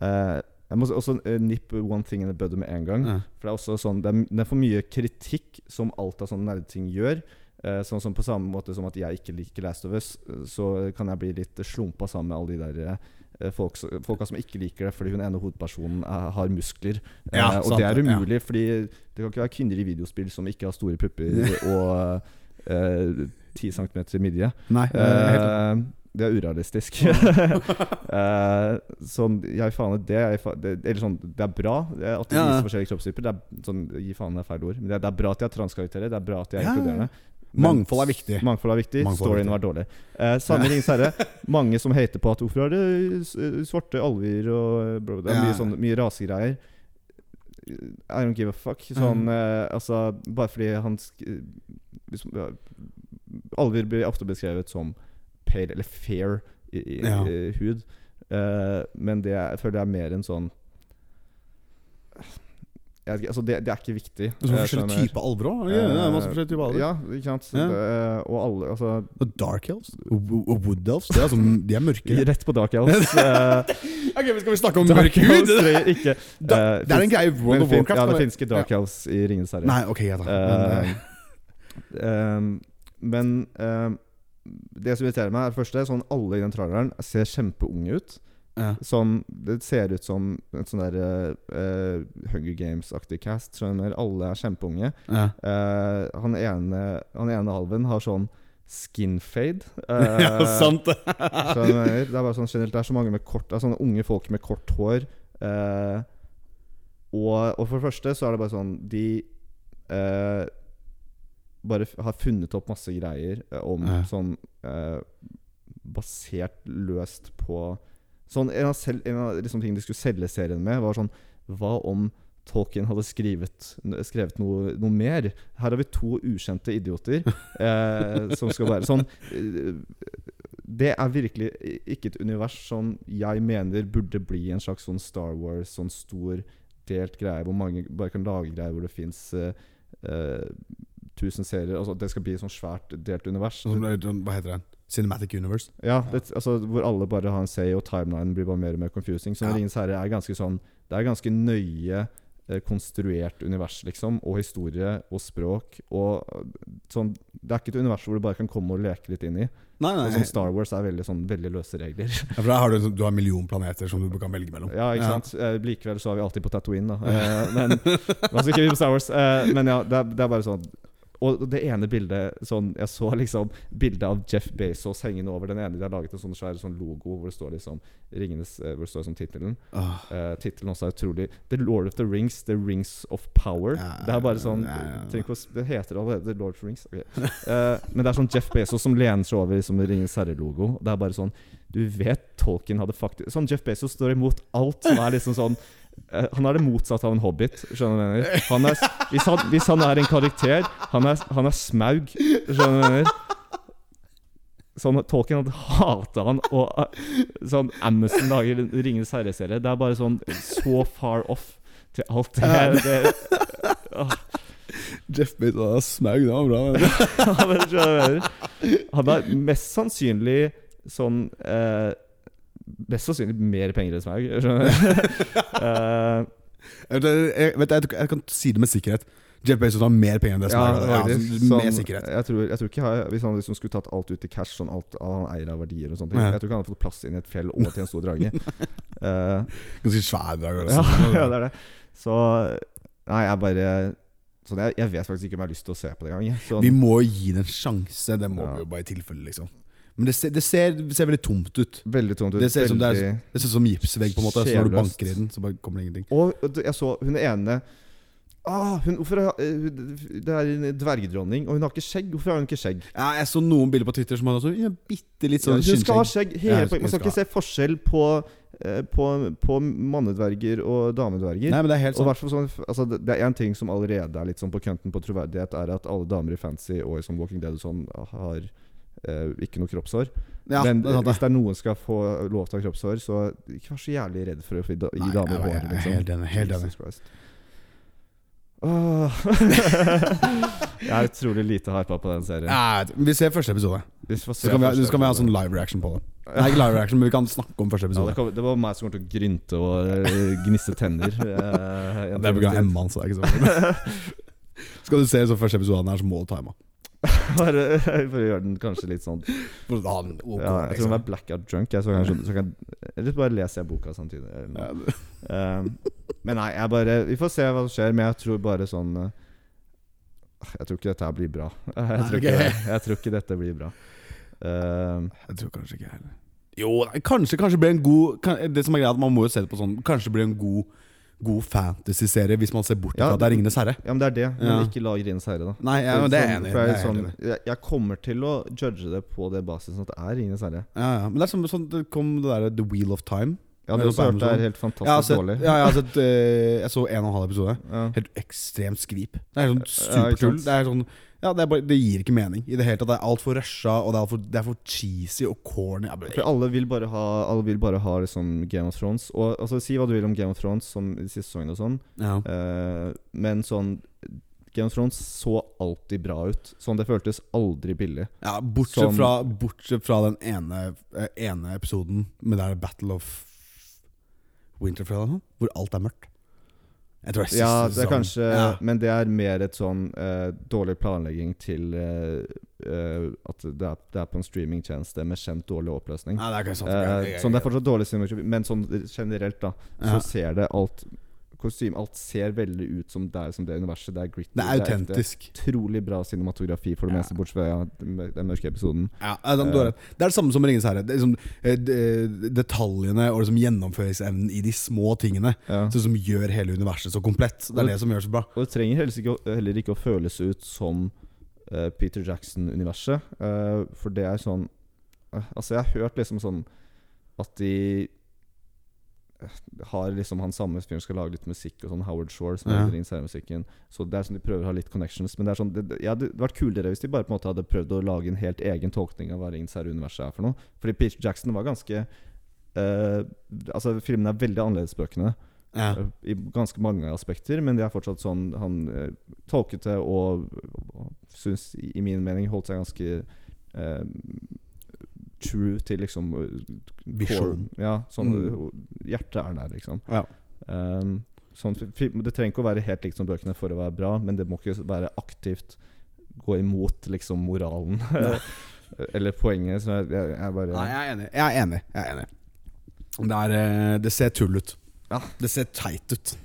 S1: eh, Jeg må også eh, nippe one thing in the bud med en gang.
S2: Ja.
S1: For det er også sånn Det er, det er for mye kritikk som alt av sånne nerdting gjør. Eh, sånn som På samme måte som at jeg ikke liker Last of Us, eh, så kan jeg bli litt slumpa sammen med alle de der eh, folk, s- folka som ikke liker det fordi hun ene hovedpersonen eh, har muskler. Eh,
S2: Ja,
S1: og
S2: sant,
S1: det er
S2: ja.
S1: umulig, fordi det kan ikke være kvinner i videospill som ikke har store pupper og eh, 10 cm midje.
S2: Nei, det er helt-
S1: Eh, det er urealistisk. Eh, sånn, jeg faen i det, jeg fa det Eller sånn, det er bra eh, at de
S2: Ja, ja.
S1: viser forskjellige kroppstyper. Det er, sånn, gi faen er feil ord. Men det, er- det er bra at de har transkarakterer. Det er bra at de er
S2: Ja, ja, ja.
S1: inkluderende. Men
S2: Mangfold er viktig.
S1: Mangfold er viktig.
S2: Mangfold er
S1: Storyen
S2: viktig.
S1: var dårlig. Eh, samme Ringenes herre. Mange som hater på at hvorfor er det s- eh, svarte alver og bro, Det er
S2: Ja.
S1: mye, sånn, mye rasegreier. I don't give a fuck.
S2: Mhm.
S1: Sånn, eh, altså, bare fordi han sk hvis, ja, Alver blir ofte beskrevet som pale eller fair i, i,
S2: Ja.
S1: i hud. Eh, men det er, jeg føler jeg er mer en sånn jeg, vet ikke, altså det, det er ikke viktig.
S2: Og så
S1: eh,
S2: forskjellige
S1: skjønner.
S2: typer alver òg. Ja, det er masse
S1: Eh,
S2: forskjellige typer alver.
S1: Ja, ikke sant.
S2: Ja.
S1: Det, og alle Altså
S2: Og Dark Elves og wo- og Wood Elves. Det er altså, de er mørkere.
S1: Rett på Dark Elves. eh,
S2: Ok, men Skal vi snakke om
S1: Dark
S2: mørk hud?
S1: Elves trenger ikke
S2: Da-
S1: eh,
S2: Det er en
S1: finnes-
S2: greie i World
S1: men
S2: of
S1: fin-
S2: Warcraft.
S1: Ja, det
S2: eller?
S1: finnes ikke Dark Elves i Ringenes herre.
S2: Nei, ok, greit da. Men,
S1: Eh,
S2: eh,
S1: ehm, men ehm, det som irriterer meg, er for det første sånn alle i den traileren ser kjempeunge ut.
S2: ja.
S1: Som Det ser ut som en sånn der eh, eh, Hunger Games-aktig cast. Skjønner Alle er kjempeunge.
S2: Ja.
S1: Eh, han, ene, han ene alven har sånn skin fade. eh,
S2: det.
S1: skjønner du hva jeg mener? Det er bare sånn generelt Det er så mange med kort Det er sånne unge folk med kort hår. eh, og, og for det første så er det bare sånn De eh, bare f- har funnet opp masse greier eh, om
S2: Ja.
S1: sånn eh, Basert løst på Sånn En av, sel- en av liksom tingene de skulle selge serien med, var sånn Hva om Tolkien hadde skrivet, skrevet noe, noe mer. Her har vi to ukjente idioter eh, som skal være sånn. eh, Det er virkelig i- ikke et univers som jeg mener burde bli en slags sånn Star Wars, sånn stor delt greie, hvor mange bare kan lage greier hvor det fins eh, eh, tusen serier. Altså at det skal bli et sånn svært delt univers.
S2: Sånn, eh, Hva heter den? Cinematic Universe?
S1: Ja, det, altså Hvor alle bare har en say, og timelinen blir bare mer og mer confusing. Så
S2: Ja.
S1: Ringens herre er ganske sånn Det er ganske nøye eh, konstruert univers, liksom. Og historie og språk. Og eh, sånn Det er ikke et univers hvor du bare kan komme og leke litt inn i.
S2: Nei,
S1: Og
S2: nei.
S1: sånn Star Wars er veldig sånn Veldig løse regler.
S2: Ja, for der har du, en sånn- du har en million planeter som du kan velge mellom.
S1: Ja, ikke sant? Eh, likevel så er vi alltid på Tatooine, da. Eh, men man skal ikke vri på Star Wars. Eh, men ja, det er, det er bare sånn Og det ene bildet sånn, Jeg så liksom bildet av Jeff Bezos hengende over den ene. De har laget en sånn svær sånn logo hvor det står liksom Ringenes eh, Hvor det står som tittelen.
S2: Åh,
S1: Eh, tittelen også er utrolig The Lord of the Rings, The Rings of Power.
S2: Ja, ja,
S1: det er bare sånn
S2: ja, ja, ja.
S1: trenger ikke å s- Det heter allerede The Lord of the Rings. ok. Eh, men det er sånn Jeff Bezos som lener seg over som Ringens herre-logo. Det er bare sånn Du vet Tolkien hadde faktisk Sånn Jeff Bezos står imot alt som er liksom sånn eh, han er det motsatte av en hobbit. Skjønner du hva jeg mener? Han er, s- hvis, han, hvis han er en karakter Han er, han er smaug. Skjønner du hva jeg mener? Sånn, Tolkien hadde hata han, og eh, sånn Amundsen lager en Ringenes herre-serie. Det er bare sånn så far off til alt det her. Det, Åh,
S2: Jeff Bezos er smaug, det var bra.
S1: ja, men skjønner du hva jeg mener? han er mest sannsynlig sånn eh, Mest sannsynlig mer penger enn Smaug. Skjønner du? Eh,
S2: Jeg, vet- jeg, vet, jeg, jeg kan si det med sikkerhet. Jeff Bezos har mer penger enn det som er ja,
S1: faktisk.
S2: altså, Med
S1: Sånn,
S2: sikkerhet.
S1: Jeg tror, jeg tror ikke jeg- Hvis han liksom skulle tatt alt ut i cash, sånn alt han eier av verdier og sånne ting,
S2: Ja.
S1: jeg tror ikke han hadde fått plass inn i et fjell og til en stor drage. Eh,
S2: Ganske svær drag.
S1: ja,
S2: Altså.
S1: ja, det er det. Så Nei, jeg bare Så det, jeg vet faktisk ikke om jeg har lyst til å se på det engang. jeg. Så-
S2: Vi må jo gi det en sjanse. Det må
S1: Ja.
S2: vi jo bare i tilfelle, liksom. Men det ser, det ser, det ser veldig tomt ut.
S1: Sånn, Veldig tomt ut.
S2: Det ser ut som det er
S1: veldig-
S2: Det ser ut som gipsvegg, på en måte. Så når du
S1: Sjelløst.
S2: banker i den, så bare kommer det ingenting.
S1: Og d- jeg så hun ene ah, hun, hvorfor, har- eh, hun- Det er en dvergdronning, og hun har ikke skjegg. Hvorfor har hun ikke skjegg?
S2: Ja, jeg så noen bilder på Twitter som hadde også ja, bitte litt
S1: Ja,
S2: sånn
S1: hun skal ha
S2: skinnskjegg.
S1: skjegg.
S2: Ja,
S1: Hele
S2: hun
S1: poenget. Man skal
S2: skal
S1: ikke se forskjell på, eh, på, på mannedverger og damedverger.
S2: Nei, men det er
S1: Og
S2: helt sånn.
S1: hvertfall sånn, f- altså, det det er en ting som allerede er litt sånn på kønten på troverdighet, er at alle damer i fancy og i sånn Walking Dead og sånn har eh, ikke noe kroppshår.
S2: Ja,
S1: Men
S2: det er sant, det.
S1: hvis det er noen som skal få lov til å ha kroppshår, så ikke vær så jævlig redd for å få gi da-
S2: Nei,
S1: gi damer
S2: jeg- jeg-
S1: hår.
S2: jeg er helt enig, helt enig.
S1: Jesus Christ. Åh. jeg er utrolig lite harpa på den serien.
S2: Nei, vi ser første episode.
S1: Vi får se
S2: Så kan vi, ha-
S1: første
S2: så kan vi ha
S1: episode.
S2: sånn live reaction på det. Nei, ikke live reaction, men vi kan snakke om første
S1: ja, det,
S2: episode.
S1: kom, det var meg som kom til å grynte og eh, gnisse tenner. eh, i en
S2: det er på grunn av
S1: tid.
S2: Emma, så det er ikke så farlig. Skal du se så første episoden her, så må du ta Emma.
S1: Bare eh, for å gjøre den kanskje litt sånn
S2: For da har den
S1: Ja,
S2: ok,
S1: jeg tror
S2: liksom.
S1: hun er blackout drunk. Jeg, så kanskje, så kan, eller bare leser jeg boka samtidig. Eller noe.
S2: Ja, det-
S1: Ehm, men nei, jeg bare Vi får se hva som skjer, men jeg tror bare sånn eh, Jeg tror ikke dette her blir bra. Jeg tror ikke, det. jeg tror ikke dette blir bra. Ehm,
S2: Jeg tror kanskje ikke jeg heller. Jo, nei, kanskje kanskje blir en god kan- Det som er greia, er at man må jo se det på sånn Kanskje blir en god God fantasy-serie hvis man ser bort fra
S1: Ja,
S2: at det er Ringenes herre.
S1: ja, men det er det. Men
S2: Ja.
S1: ikke lag Ringenes herre, da.
S2: Nei, ja, men det er jeg
S1: Sånn,
S2: enig i.
S1: for jeg
S2: Det er
S1: er
S2: jeg helt
S1: sånn,
S2: enig i.
S1: jeg, jeg kommer til å judge det på det basisen at det er Ringenes herre.
S2: Ja, ja. Men det er som sånn, det kom det derre The Wheel of Time.
S1: Jeg
S2: Men
S1: hadde også
S2: på
S1: hørt det
S2: Amazon-
S1: er helt
S2: Jeg har
S1: fantastisk
S2: sett,
S1: dårlig.
S2: ja, jeg, har sett eh, jeg så en og en halv episode.
S1: Ja.
S2: Helt ekstremt skvip. Det er
S1: Ja,
S2: sånn
S1: ikke
S2: supertull.
S1: sant?
S2: Det er sånn ja, det, er bare, det gir ikke mening i det hele tatt. Det er altfor rusha, og det er altfor alt for cheesy og corny. Jeg
S1: For
S2: bare,
S1: alle vil bare ha, alle vil bare ha liksom Game of Thrones. Og altså, Si hva du vil om Game of Thrones som de siste sesongene og sånn,
S2: ja.
S1: eh, men sånn Game of Thrones så alltid bra ut. Sånn Det føltes aldri billig.
S2: ja, bortsett,
S1: Som-
S2: fra, bortsett fra den ene, eh, ene episoden med det er Battle of Winterfell, eller noe, hvor alt er mørkt. Jeg tror det er siste
S1: Ja, det er
S2: sesongen.
S1: kanskje
S2: Ja.
S1: Men det er mer et sånn eh, dårlig planlegging til eh, eh, at det er, det er på en streamingtjeneste med kjent dårlig oppløsning.
S2: Nei, det er kanskje sant.
S1: Eh, sånn, det er fortsatt dårlig cinematografi, men sånn generelt, da, så
S2: Ja.
S1: ser det alt Kostyme Alt ser veldig ut som det er som det universet. Det er gritty.
S2: det
S1: ekte.
S2: er autentisk.
S1: Utrolig bra cinematografi for det
S2: Ja.
S1: meste, bortsett fra ja, den mør- den mørke episoden.
S2: Ja, det er, du har rett. det er det samme som med 'Ringenes herre'. Det er liksom, eh, de- detaljene og liksom gjennomføringsevnen i de små tingene
S1: Ja.
S2: så, som gjør hele universet så komplett. Det er det som gjør det så bra.
S1: Og det trenger helst ikke, å- heller ikke å føles ut som eh, Peter Jackson-universet. eh, for det er sånn eh, Altså, jeg har hørt liksom sånn at de eh, har liksom han samme fyren skal lage litt musikk og sånn, Howard Shore, som
S2: Ja.
S1: er inn særmusikken. Så det er sånn de prøver å ha litt connections. Men det er sånn det, det, ja, det hadde vært kulere hvis de bare på en måte hadde prøvd å lage en helt egen tolkning av hva Ringens herre-universet er for noe. Fordi Peter Jackson var ganske eh, Altså, filmene er veldig annerledes bøkene
S2: Ja.
S1: i ganske mange aspekter, men det er fortsatt sånn han eh, tolket det og, og syns, i i min mening, holdt seg ganske eh, true til liksom eh,
S2: Visjon.
S1: core- Ja, sånn
S2: Mm.
S1: eh, Hjertet er der, liksom.
S2: Ja.
S1: Ehm, sånn, fi- fi- det trenger ikke å være helt likt som bøkene for å være bra, men det må ikke være aktivt gå imot liksom moralen eller poenget. Så jeg, jeg, jeg bare
S2: Nei, jeg er enig. Jeg er enig. Jeg er enig. Det, er, eh, det ser tull ut.
S1: Ja.
S2: Det ser teit ut.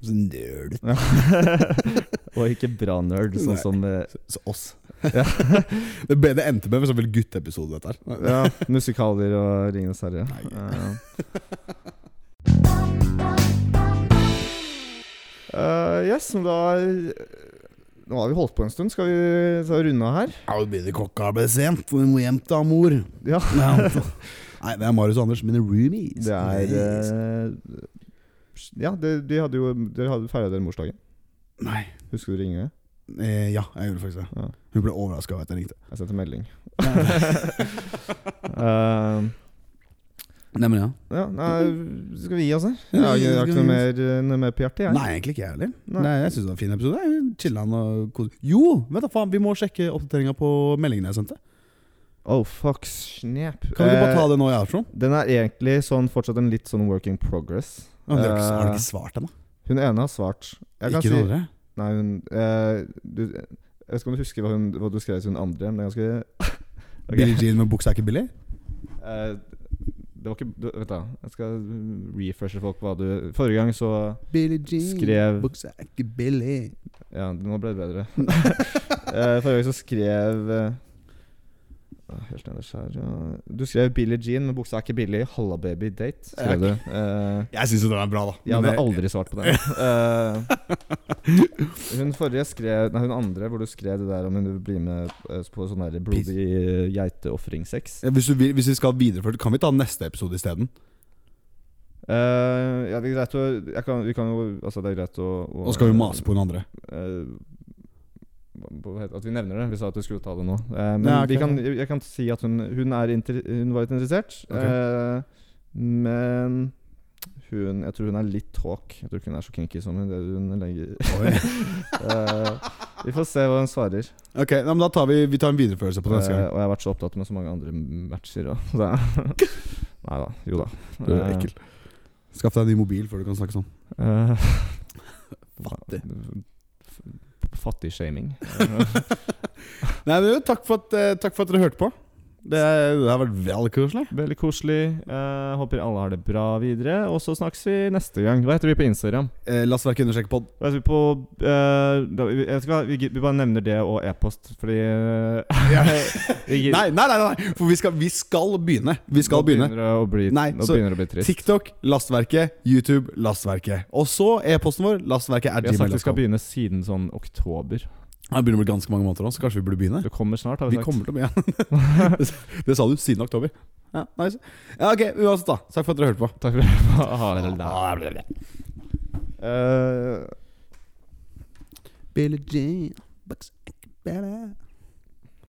S2: Så nerd ut.
S1: Og ikke bra nerd,
S2: Nei.
S1: sånn som eh,
S2: Så oss. det, ble, det endte med en sånn vel gutteepisode, dette her.
S1: Ja, musikaler og Ringenes herre. Ja. Eh, yes, men da Nå har vi holdt på en stund. Skal vi ta runde av her?
S2: Ja, nå begynner klokka å bli sent, for vi må hjem til mor.
S1: Ja.
S2: Nei, det er Marius og Anders, mine roomies.
S1: Det er eh, Ja, det, de hadde jo dere hadde feira den morsdagen.
S2: Nei.
S1: Husker du å ringe?
S2: Eh, ja, jeg gjorde faktisk det.
S1: Ja.
S2: Hun ble overraska over at jeg ringte.
S1: Jeg sendte melding. Eh,
S2: Nei, men ja.
S1: ja, nei, skal vi gi oss her? Jeg har ikke- jeg har ikke noe mer, eh, noe mer på hjertet, jeg.
S2: Nei, egentlig ikke jeg heller.
S1: Nei.
S2: Nei, Jeg syns det var en fin episode. Jeg chillet han og kos- Jo, vet da faen, vi må sjekke oppdateringa på meldingene jeg sendte.
S1: Oh, fuck, snap.
S2: Kan vi ikke bare
S1: Eh,
S2: ta det nå i outroen?
S1: Den er egentlig sånn fortsatt en litt sånn work in progress.
S2: Har du ikke, har du
S1: Eh,
S2: ikke svart ennå?
S1: hun ene har svart. Jeg kan
S2: Ikke den
S1: si
S2: andre?
S1: Nei, hun eh, du, Jeg vet ikke om du husker hva, hun, hva du skrev til hun andre, men det er ganske Ok.
S2: Billie Jean med buksa er ikke billig?
S1: Eh, Det var ikke du, Vent, da. Jeg skal refreshe folk hva du Forrige gang så
S2: Billie
S1: skrev
S2: buksa er ikke billig.
S1: eh, Ja, nå ble det bedre. Eh, Forrige gang så skrev eh, å, Helt nederst her ja. Du skrev 'Billie Jean', men buksa er ikke billig. 'Halla baby date', skrev du. Eh,
S2: Jeg syns jo den er bra, da.
S1: jeg hadde
S2: Men det-
S1: aldri svart på den. Eh, hun forrige skrev Nei, hun andre, hvor du skrev det der om hun vil bli med eh, på sånn der blodig eh, geiteofringsex.
S2: Ja, hvis, du vil, hvis vi skal videreføre det, kan vi ta neste episode isteden?
S1: Eh, ja, det er greit å jeg kan, Vi kan jo Altså, det er greit å, å
S2: Og så skal vi mase på den andre.
S1: eh, hva- hva heter- At vi nevner det. Vi sa at vi skulle ta det nå. Eh, men
S2: Ja, ok.
S1: vi kan, jeg jeg kan si at hun, hun, er inter, hun var litt interessert.
S2: Ok.
S1: eh, men hun Jeg tror hun er litt hawk. Jeg tror ikke hun er så kinky som hun, det hun legger Eh, Vi får se hva hun svarer.
S2: Ok, nei, men Da tar vi, vi tar en videreførelse på det neste
S1: Eh,
S2: gang.
S1: og jeg har vært så opptatt med så mange andre matcher. Og det er- Nei da. Jo da.
S2: Du er ekkel. Skaff deg en ny mobil før du kan snakke sånn.
S1: Eh,
S2: Fattig.
S1: f- f- Fattigshaming.
S2: Nei, men, jo, takk, for at, eh, takk for at dere hørte på. Det, det har vært veldig koselig.
S1: Veldig koselig. Eh, håper alle har det bra videre. Og så snakkes vi neste gang. Hva heter vi på Instagram?
S2: Eh, la oss verke undersøke pod.
S1: Hva heter vi på eh, da- vi- Jeg vet ikke hva, vi, gid- vi bare nevner det og e-post, fordi eh, vi gid-
S2: Nei, nei, nei, nei, for vi skal, vi skal begynne. Vi skal
S1: nå
S2: begynne.
S1: begynner det å bli,
S2: Nei,
S1: nå
S2: så-
S1: begynner det å bli trist.
S2: TikTok, lastverket. YouTube, lastverket. Og så e-posten vår, lastverket er
S1: Vi har sagt vi skal
S2: gmail.com.
S1: begynne siden sånn oktober.
S2: Det begynner å bli ganske mange måneder nå, så kanskje vi burde begynne.
S1: Det kommer snart, har vi,
S2: Vi
S1: sagt.
S2: kommer til å begynne. det sa du siden oktober. Ja, nice. Ja, ok, uansett, da. Takk for at dere hørte på.
S1: Takk for det. Ha det. Eh,
S2: Billie Jean, bucks, better.